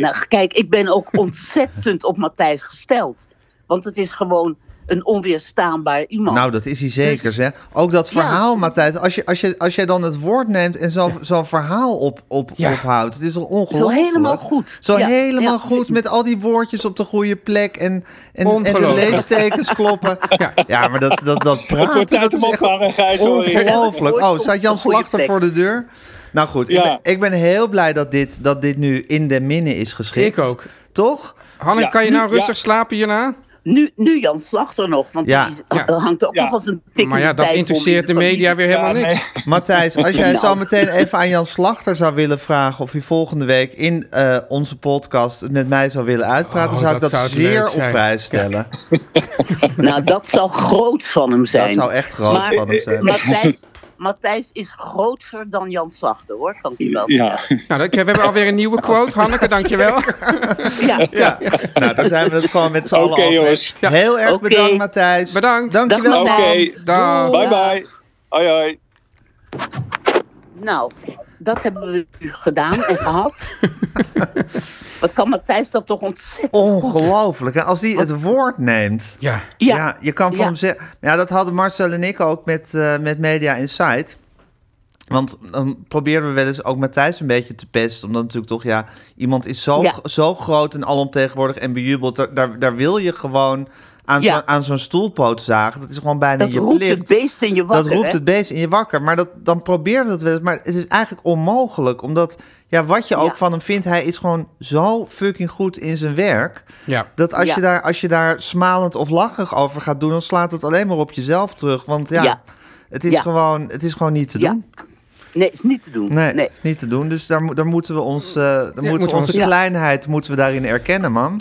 S8: nou, kijk, ik ben ook ontzettend op Matthijs gesteld. Want het is gewoon een onweerstaanbaar iemand.
S3: Nou, dat is hij zeker,
S8: Dus-
S3: zeg. Ook dat verhaal, Matthijs. Als, je, als, je, als jij dan het woord neemt en zo'n zo'n verhaal op, op, ophoudt. Het is toch ongelooflijk?
S8: Zo helemaal goed.
S3: Zo
S8: Ja,
S3: helemaal
S8: ja.
S3: goed, met al die woordjes op de goede plek en, en, en de
S6: Ongelooflijk.
S3: leestekens kloppen. Ja, maar dat, dat, dat
S9: Het wordt
S3: praten,
S9: tijd
S3: ah, dat is
S9: om
S3: echt
S9: ophangen, Gijs, hoor.
S3: ongelooflijk.
S9: Ja.
S3: Oh, staat Jan
S9: Op de goede
S3: Slachter
S9: plek.
S3: voor de deur? Nou goed,
S9: Ja.
S3: ik, ben, ik ben heel blij dat dit, dat dit nu in de minne is geschikt.
S6: Ik ook.
S3: Toch?
S6: Hanne,
S3: Ja.
S6: kan je nou
S3: Ja.
S6: rustig slapen hierna?
S8: Nu, nu Jan Slachter nog, want
S3: Ja.
S8: die eh, hangt ook nog als een tikkende
S6: Maar ja, dat
S8: pijp om
S6: interesseert de
S8: in familie.
S6: media weer helemaal
S3: Ja,
S6: niks.
S3: Matthijs, als jij
S8: Nou.
S3: zo meteen even aan Jan Slachter zou willen vragen... of hij volgende week in eh, onze podcast het met mij zou willen uitpraten...
S6: Oh,
S3: zou ik dat,
S6: dat zou het
S3: zeer
S6: leuk
S3: op
S6: zijn.
S3: prijs stellen.
S8: Nou, dat zou groot van hem zijn.
S3: Dat zou echt groot
S8: Maar-
S3: van hem zijn.
S8: Matthijs, Matthijs is groter dan Jan Slachter, hoor. Kan ik je wel zeggen.
S6: Nou, dat- we hebben alweer een nieuwe quote. Hanneke, dankjewel.
S8: Ja.
S3: Ja, nou, daar zijn we het gewoon met z'n
S9: Oké,
S3: allen over.
S9: jongens.
S3: Heel erg
S8: Oké.
S3: bedankt, Matthijs.
S6: Bedankt.
S3: Dankjewel,
S9: Oké,
S3: man. Dag.
S9: bye bye. Hoi hoi.
S8: Nou, dat hebben we nu gedaan en gehad. Wat kan Matthijs dat toch ontzettend
S3: Ongelooflijk. hè? Als hij het woord neemt.
S6: Ja.
S3: Ja,
S8: Ja.
S3: je kan van
S8: Ja.
S3: hem zeggen. Ja, dat hadden Marcel en ik ook met, eh, met Media Insight. Want dan probeerden we wel eens ook Matthijs een beetje te pesten. Omdat natuurlijk toch, ja, iemand is zo,
S8: Ja.
S3: zo groot en alomtegenwoordig en bejubeld. Daar, daar, daar wil je gewoon aan
S8: Ja.
S3: zo'n- aan zo'n stoelpoot zagen. Dat is gewoon bijna
S8: Dat
S3: je
S8: roept
S3: plicht.
S8: het beest in je wakker,
S3: Dat roept
S8: hè?
S3: het beest in je wakker. Maar dat, dan probeer dat wel eens. Maar het is eigenlijk onmogelijk. Omdat, ja, wat je ook
S8: Ja.
S3: van hem vindt, hij is gewoon zo fucking goed in zijn werk.
S6: Ja.
S3: Dat als,
S8: Ja.
S3: je daar, als je daar smalend of lachig over gaat doen, dan slaat het alleen maar op jezelf terug. Want ja,
S8: Ja.
S3: Het, is
S8: Ja.
S3: Gewoon, het is gewoon niet te
S8: Ja.
S3: doen.
S8: Nee, is niet te doen.
S3: Nee,
S8: Nee.
S3: niet te doen. Dus daar, mo- daar moeten we ons, eh, daar moeten
S6: moeten
S3: we
S6: we Oh,
S3: onze
S6: ons-
S3: kleinheid moeten we daarin erkennen, man.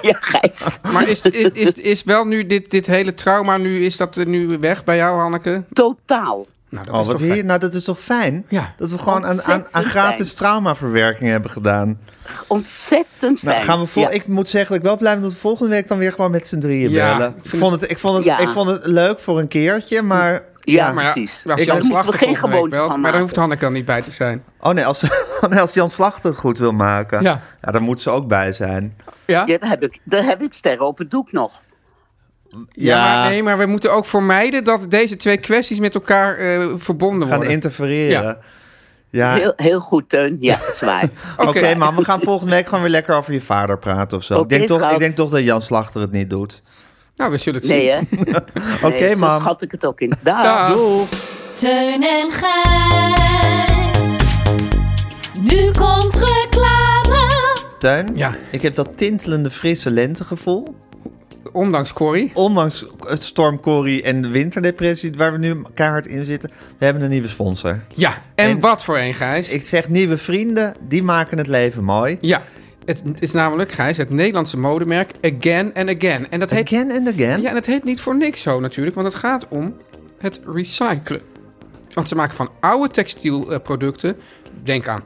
S8: Ja, Gijs.
S6: Maar is, is, is, is wel nu dit, dit hele trauma, nu, is dat er nu weg bij jou, Hanneke?
S8: Totaal.
S6: Nou, dat
S3: Oh,
S6: is
S3: wat
S6: toch fijn.
S3: hier, nou, dat is toch fijn?
S6: Ja.
S3: Dat we gewoon aan, aan, aan
S8: Ontzettend
S3: gratis
S8: fijn.
S3: traumaverwerking hebben gedaan.
S8: Ontzettend fijn.
S3: Nou, gaan we vol-
S8: Ja.
S3: Ik moet zeggen dat ik wel blij ben dat we volgende week dan weer gewoon met z'n drieën
S6: Ja,
S3: bellen.
S6: ik
S3: Ik vond, het, ik, vond het,
S8: Ja.
S3: ik vond het leuk voor een keertje, maar...
S8: Ja,
S3: ja.
S6: Maar ja,
S8: precies.
S6: als
S8: Ik-
S6: Jan
S8: Daar moeten we
S6: Slachter
S8: geen
S6: volgende week
S8: gewoonte
S6: wel.
S8: van
S6: Maar daar hoeft
S8: maken.
S6: Hanneke dan niet bij te zijn.
S3: Oh nee, als, nee, als Jan Slachter het goed wil maken, ja.
S6: Ja.
S3: daar moet ze ook bij zijn.
S6: Ja?
S8: Ja, daar heb ik, daar heb ik sterren op het doek nog.
S6: Ja,
S3: Ja.
S6: maar nee, maar we moeten ook vermijden dat deze twee kwesties met elkaar eh, verbonden
S3: Gaan
S6: worden.
S3: interfereren. Ja.
S8: Heel, heel goed, Teun. Ja, dat is waar.
S3: Oké,
S6: Oké.
S3: man, we gaan volgende week gewoon weer lekker over je vader praten of zo. ik,
S8: Oké,
S3: denk toch,
S8: schat.
S3: ik denk toch dat Jan Slachter het niet doet.
S6: Nou, we zullen het zien.
S8: Nee, hè?
S3: Oké,
S8: Nee, Zo
S3: man.
S8: schat ik het ook in. Daar.
S6: Dag.
S7: Teun en Gijs. Nu komt reclame.
S3: Tuin,
S6: Ja.
S3: ik heb dat tintelende frisse lentegevoel.
S6: Ondanks Corrie.
S3: Ondanks het storm Corrie en de winterdepressie waar we nu keihard in zitten. We hebben een nieuwe sponsor.
S6: Ja, en,
S3: En-
S6: wat voor een, Gijs.
S3: Ik zeg nieuwe vrienden, die maken het leven mooi.
S6: Ja, het is namelijk, Gijs, het Nederlandse modemerk Again and Again. En dat heet,
S3: Again and again.
S6: ja, en dat heet niet voor niks zo natuurlijk, want het gaat om het recyclen. Want ze maken van oude textielproducten, denk aan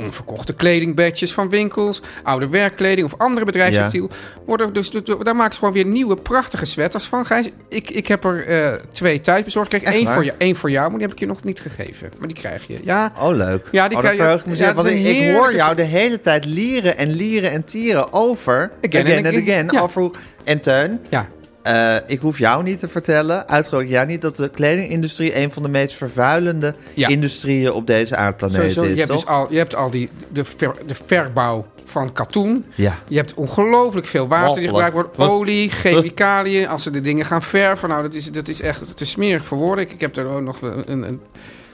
S6: onverkochte kledingbadges van winkels, oude werkkleding of andere bedrijfstextiel, worden dus, dus- daar maken ze gewoon weer nieuwe prachtige sweaters van. Gijs, ik, ik heb er eh, twee thuis bezorgd. Kijk, één
S3: waar?
S6: voor, jou, één voor jou, maar die heb ik je nog niet gegeven. Maar die krijg je. Ja,
S3: Oh, leuk.
S6: Ja, die
S3: oh, dat
S6: krijg je-
S3: verheug ik me
S6: ja,
S3: zeer,
S6: het is
S3: want ik,
S6: een
S3: ik hoor
S6: heerlijke-
S3: jou de hele tijd lieren en lieren en tieren over...
S6: Again and
S3: and
S6: again.
S3: again.
S6: Ja.
S3: Over hoe- en Teun,
S6: ja.
S3: eh, ik hoef jou niet te vertellen, uitgeroken jou niet... dat de kledingindustrie een van de meest vervuilende
S6: Ja.
S3: industrieën op deze aardplaneet
S6: Sowieso,
S3: is,
S6: je hebt
S3: toch?
S6: dus al, je hebt al die, de, ver- de verbouw van katoen.
S3: Ja.
S6: Je hebt ongelooflijk veel water die
S3: Walgelijk.
S6: gebruikt wordt. Olie, chemicaliën. Als ze de dingen gaan verven. Nou, dat is, dat is echt te smerig voor woorden. Ik, ik heb er ook nog een, een, een,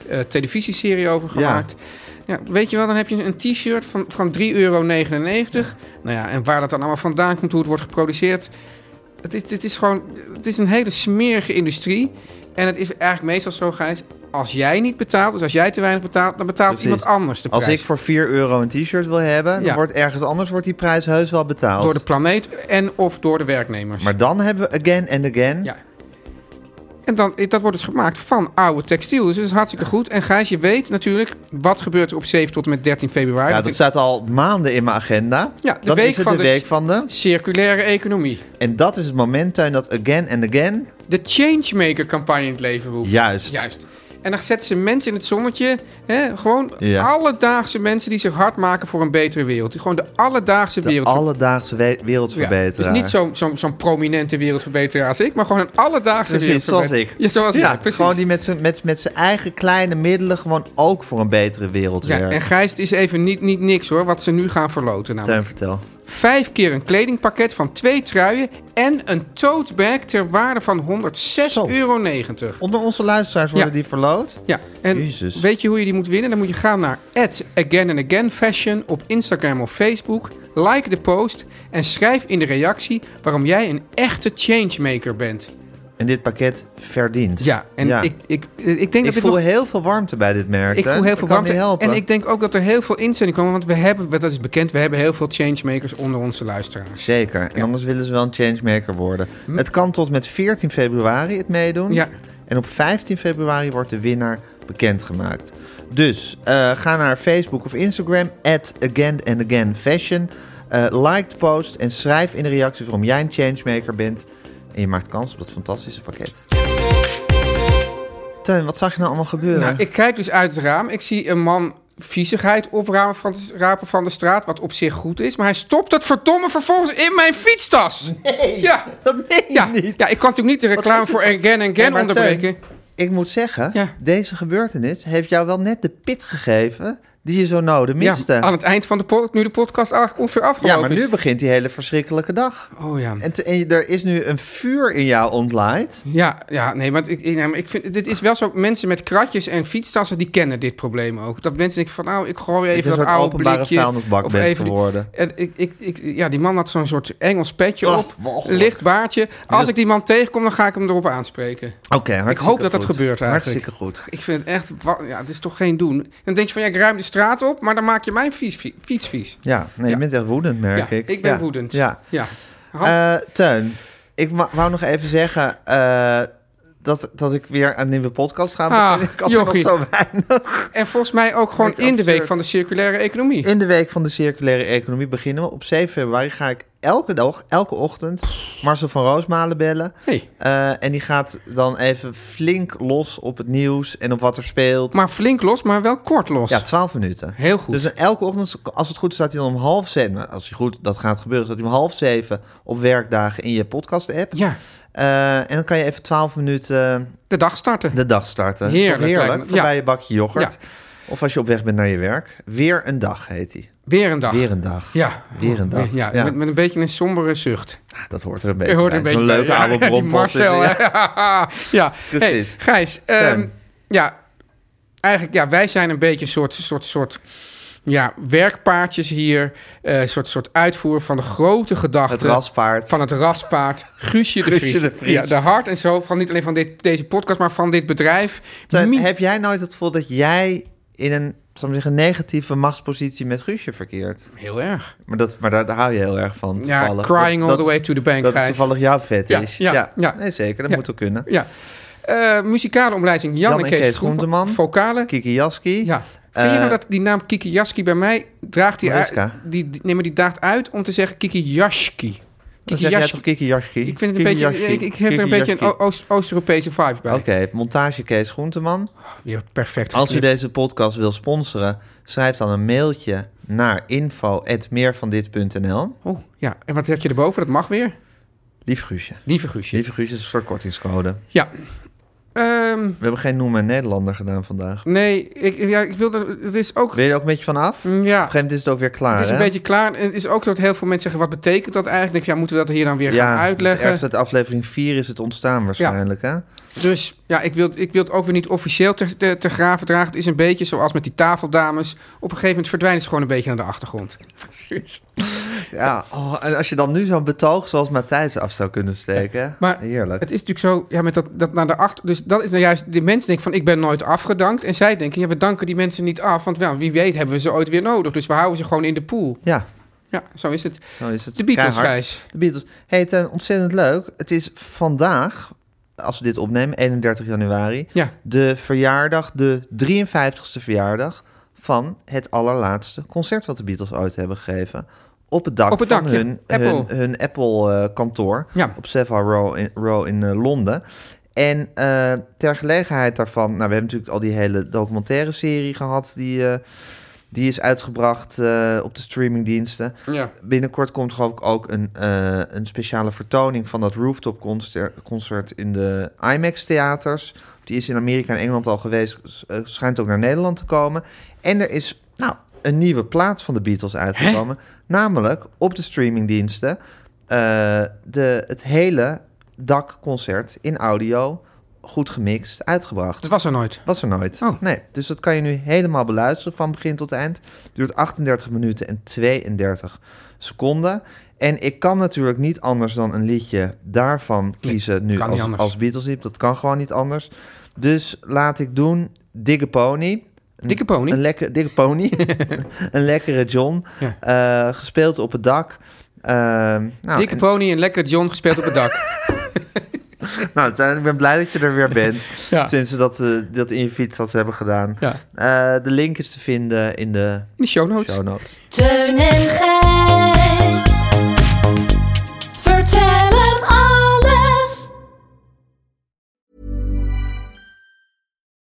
S6: eh, televisieserie over gemaakt. Ja. weet je wel, dan heb je een t-shirt van, van 3,99 euro. Nou ja, en waar dat dan allemaal vandaan komt, hoe het wordt geproduceerd. Het is, dit is gewoon, het is een hele smerige industrie. En het is eigenlijk meestal zo, Gijs. als jij niet betaalt, dus als jij te weinig betaalt, dan betaalt
S3: Precies.
S6: iemand anders de prijs.
S3: Als ik voor 4 euro een t-shirt wil hebben,
S6: Ja.
S3: dan wordt ergens anders wordt die prijs heus wel betaald.
S6: Door de planeet en of door de werknemers.
S3: Maar dan hebben we again and again.
S6: Ja. En dan, dat wordt dus gemaakt van oude textiel. Dus dat is hartstikke goed. En Gijs, je weet natuurlijk wat gebeurt er op 7 tot en met 13 februari.
S3: Ja,
S6: Dat
S3: dat
S6: is-
S3: staat al maanden in mijn agenda.
S6: Ja, de
S3: dan
S6: week
S3: is het
S6: van
S3: de
S6: de-
S3: week van de...
S6: Circulaire economie.
S3: En dat is het moment, Tuin, dat again and again...
S6: De Changemaker-campagne in het leven roept.
S3: Juist.
S6: Juist. En dan zetten ze mensen in het zonnetje. Hè? Gewoon
S3: Ja.
S6: alledaagse mensen die zich hard maken voor een betere wereld. Gewoon de alledaagse
S3: De
S6: wereld.
S3: alledaagse we- wereldverbeteraar.
S6: dus niet zo'n zo'n zo'n prominente wereldverbeteraar als ik, maar gewoon een alledaagse
S3: Precies, zoals
S6: wereldverbeteraar.
S3: ik.
S6: Ja, zoals
S3: ja,
S6: ik, precies.
S3: Gewoon die met zijn met, met zijn eigen kleine middelen gewoon ook voor een betere wereld
S6: Ja,
S3: werkt.
S6: en Gijs, het is even niet, niet niks hoor, wat ze nu gaan verloten. Namelijk.
S3: Tuin, vertel.
S6: Vijf keer een kledingpakket van twee truien en een tote bag ter waarde van 106,90 euro.
S3: Onder onze luisteraars worden
S6: Ja.
S3: die verloot?
S6: Ja, en
S3: Jezus.
S6: weet je hoe je die moet winnen? Dan moet je gaan naar Again and Again Fashion op Instagram of Facebook. Like de post en schrijf in de reactie waarom jij een echte changemaker bent.
S3: En dit pakket verdient.
S6: Ja, en
S3: Ja.
S6: Ik, ik, ik denk
S3: Ik,
S6: dat dit
S3: voel
S6: nog-
S3: heel veel warmte bij dit merk.
S6: Ik
S3: hè?
S6: voel heel veel
S3: kan niet
S6: warmte.
S3: helpen.
S6: En ik denk ook dat er heel veel inzendingen komen. Want we hebben, dat is bekend, we hebben heel veel changemakers onder onze luisteraars.
S3: Zeker. En
S6: Ja. Hm.
S3: anders willen ze wel een changemaker worden. Het kan tot met 14 februari het meedoen.
S6: Ja.
S3: En op 15 februari wordt de winnaar bekendgemaakt. Dus eh, ga naar Facebook of Instagram, at Again and Again Fashion. Eh, like de post en schrijf in de reacties waarom jij een changemaker bent. En je maakt kans op dat fantastische pakket. Teun, wat zag je nou allemaal gebeuren?
S6: Nou, ik kijk dus uit het raam. Ik zie een man viezigheid oprapen van, de- rapen van de straat. Wat op zich goed is. Maar hij stopt het verdomme vervolgens in mijn fietstas. ja.
S3: dat meen je
S6: Ja.
S3: niet.
S6: ja, ik kan natuurlijk niet de reclame
S3: is dit
S6: voor
S3: voor-
S6: Again and
S3: Nee,
S6: Again
S3: maar
S6: onderbreken.
S3: Teun, ik moet zeggen,
S6: Ja.
S3: deze gebeurtenis heeft jou wel net de pit gegeven die je zo nodig
S6: Ja,
S3: miste.
S6: aan het eind van de pod, nu de podcast eigenlijk ongeveer
S3: Ja,
S6: afgelopen
S3: maar nu
S6: is.
S3: begint die hele verschrikkelijke dag.
S6: Oh ja.
S3: En, te- en je- er is nu een vuur in jou ontlaaid.
S6: Ja, ja, nee, want ik, ik, nee, maar ik vind, dit is wel zo, mensen met kratjes en fietstassen, die kennen dit probleem ook. Dat mensen denken van, nou, ik gooi
S3: Het is
S6: even
S3: een
S6: dat oude
S3: openbare
S6: blikje.
S3: vuilnisbak bent
S6: even die-
S3: geworden.
S6: en ik, ik, ik, ja, die man had zo'n soort Engels petje
S3: Ah,
S6: op, een
S3: walgelijk.
S6: licht baardje. Als ik die man tegenkom, dan ga ik hem erop aanspreken.
S3: Oké, hartstikke
S6: Ik hoop dat dat
S3: goed.
S6: gebeurt eigenlijk.
S3: Hartstikke goed.
S6: Ik vind het echt, wa- ja, het is toch geen doen. Dan denk je van, ja, ik ruim de straat op, maar dan maak je mijn fiets, vie- fiets vies.
S3: Ja, nee, je
S6: Ja.
S3: bent echt woedend, merk
S6: ja,
S3: ik.
S6: ik ben
S3: Ja.
S6: woedend.
S3: Ja.
S6: ja. Hans,
S3: Eh Teun, ik wa- wou nog even zeggen eh, dat, dat ik weer een nieuwe podcast ga
S6: Ah,
S3: beginnen. ik had er nog
S6: jochie.
S3: zo weinig.
S6: en volgens mij ook gewoon in
S3: Beetje
S6: de
S3: absurd.
S6: week van de circulaire economie.
S3: In de week van de circulaire economie beginnen we. Op 7 februari ga ik elke dag, elke ochtend, Marcel van Roosmalen bellen.
S6: Hey.
S3: Eh, en die gaat dan even flink los op het nieuws en op wat er speelt.
S6: Maar flink los, maar wel kort los.
S3: ja, 12 minuten.
S6: Heel goed.
S3: Dus elke ochtend, als het goed is, staat hij dan om half zeven. nou, Als hij goed, dat gaat gebeuren, staat hij om half zeven op werkdagen in je podcast-app.
S6: ja,
S3: Eh, en dan kan je even 12 minuten
S6: de dag starten.
S3: de dag starten. Is
S6: Heerlijk,
S3: Toch heerlijk.
S6: lijkt me.
S3: Voorbij
S6: Ja.
S3: je bakje yoghurt. Of als je op weg bent naar je werk. Weer een dag heet hij.
S6: Weer een dag.
S3: Weer een dag.
S6: Ja.
S3: Weer een dag.
S6: Ja, Met, met een beetje een sombere zucht.
S3: Dat hoort er een beetje
S6: Je hoort
S3: bij.
S6: een beetje
S3: Zo'n
S6: bij.
S3: leuke
S6: Ja,
S3: oude
S6: die
S3: brompot.
S6: Marcel,
S3: Ja.
S6: hè. ja.
S3: Precies.
S6: Hey, Gijs, ehm,
S3: Teun.
S6: ja, eigenlijk, ja, wij zijn een beetje een soort, soort, soort ja, werkpaardjes hier. eh, Een soort, soort uitvoer van de grote gedachten.
S3: Het raspaard.
S6: Van het raspaard. Guusje de
S3: Guusje
S6: Vries.
S3: de Vries.
S6: Ja, de hart en zo. Van niet alleen van dit, deze podcast, maar van dit bedrijf.
S3: Teun,
S6: Mi-
S3: heb jij nooit het gevoel dat jij in een zal ik maar zeggen, negatieve machtspositie met Guusje verkeert?
S6: Heel erg.
S3: Maar, dat, maar daar, daar hou je heel erg van.
S6: Ja,
S3: Toevallig.
S6: crying all
S3: dat,
S6: the way to the bank,
S3: Dat is
S6: Gijs.
S3: toevallig jouw vet is.
S6: Ja, ja, ja.
S3: Nee, zeker. Dat
S6: Ja.
S3: moet ook kunnen.
S6: Ja. Eh, muzikale omlijsting Jan, en Kees,
S3: Groenteman.
S6: Vocale.
S3: Kiki Jaski.
S6: Ja. Vind je
S3: Eh,
S6: nou dat die naam Kiki Jaski bij mij draagt die uit?
S3: Mariska.
S6: Die, die- nee, maar die daagt uit om te zeggen Kiki Jaski.
S3: Dan
S6: Kiki
S3: zeg jij
S6: Jaski.
S3: toch Kiki Jaski?
S6: Ik vind het
S3: Kiki
S6: een beetje.
S3: Jaski.
S6: Ik, ik heb er
S3: Kiki
S6: een beetje een
S3: Jaski.
S6: O- Oost- Oost-Europese vibe bij.
S3: Oké, montage Kees Groenteman.
S6: Weer perfect.
S3: Als u
S6: geknipt.
S3: deze podcast wil sponsoren, schrijf dan een mailtje naar info.meervandit.nl.
S6: Oh ja. En wat heb je erboven? Dat mag weer.
S3: Lief Guusje.
S6: Lieve Guusje.
S3: Lieve Guusje is een soort kortingscode.
S6: Ja. Ehm,
S3: We hebben geen Noem en Nederlander gedaan vandaag.
S6: nee, ik, ja, ik wilde. Het is ook. Mm,
S3: Wil je er ook een beetje van af? Op een
S6: Ja.
S3: gegeven moment is Mm. het ook weer klaar,
S6: Het is een
S3: hè?
S6: beetje klaar. En Het is ook zo dat heel veel mensen zeggen: wat betekent dat eigenlijk? Denk, ik, ja, moeten we dat hier dan weer gaan
S3: het is
S6: uitleggen?
S3: dus ergens uit aflevering 4 is het ontstaan waarschijnlijk, hè?
S6: Dus ja, ik wil, ik wil het ook weer niet officieel te, te, te graven dragen. Het is een beetje zoals met die tafeldames. Op een gegeven moment verdwijnen ze gewoon een beetje aan de achtergrond.
S3: Ja, oh, en als je dan nu zo'n betoog zoals Matthijs af zou kunnen steken.
S6: Maar
S3: Heerlijk.
S6: het is natuurlijk zo, ja, met dat, dat naar de achter. Dus dat is nou juist, die mensen denken van ik ben nooit afgedankt. En zij denken, ja, we danken die mensen niet af. Want wel, wie weet hebben we ze ooit weer nodig. Dus we houden ze gewoon in de pool.
S3: Ja,
S6: Ja, zo is het.
S3: zo is het.
S6: De Beatles,
S3: Keihard.
S6: Gijs.
S3: De Beatles. Hey, ten, ontzettend leuk. Het is vandaag, als we dit opnemen, 31 januari,
S6: Ja.
S3: de verjaardag, de 53ste verjaardag van het allerlaatste concert wat de Beatles ooit hebben gegeven. Op het dak
S6: Op het
S3: van
S6: dak, ja.
S3: hun,
S6: Apple.
S3: hun, hun Apple-kantoor
S6: Ja.
S3: op Savile Row in, Row in eh, Londen. En eh, ter gelegenheid daarvan, nou, we hebben natuurlijk al die hele documentaire serie gehad, die, eh, die is uitgebracht eh, op de streamingdiensten.
S6: Ja.
S3: Binnenkort komt geloof ik ook een, eh, een speciale vertoning van dat rooftop concert, concert in de IMAX theaters. Die is in Amerika en Engeland al geweest, s- eh, schijnt ook naar Nederland te komen. En er is nou, een nieuwe plaat van de Beatles uitgekomen, namelijk op de streamingdiensten eh, de, het hele dakconcert in audio, goed gemixt, uitgebracht.
S6: Dat was er nooit.
S3: Was er nooit.
S6: Oh.
S3: Nee, dus dat kan je nu helemaal beluisteren van begin tot eind. Duurt 38 minuten en 32 seconden. En ik kan natuurlijk niet anders dan een liedje daarvan kiezen nu
S6: kan niet
S3: als,
S6: anders.
S3: als Beatles lied. Dat kan gewoon niet anders. Dus laat ik doen Dikke Pony. Een-
S6: Dikke Pony.
S3: Een lekker, dikke pony. een lekkere John. Eh, gespeeld op het dak. Eh, nou,
S6: Dikke
S3: en-
S6: pony en lekker John gespeeld op het dak.
S3: nou, Tuin, ik ben blij dat je er weer bent.
S6: Ja.
S3: Sinds ze dat, eh, dat in je fiets dat ze hebben gedaan.
S6: Ja.
S3: Eh, de link is te vinden in de
S6: In de show notes.
S3: show notes.
S7: Teun en Gijs. Vertel hem alles.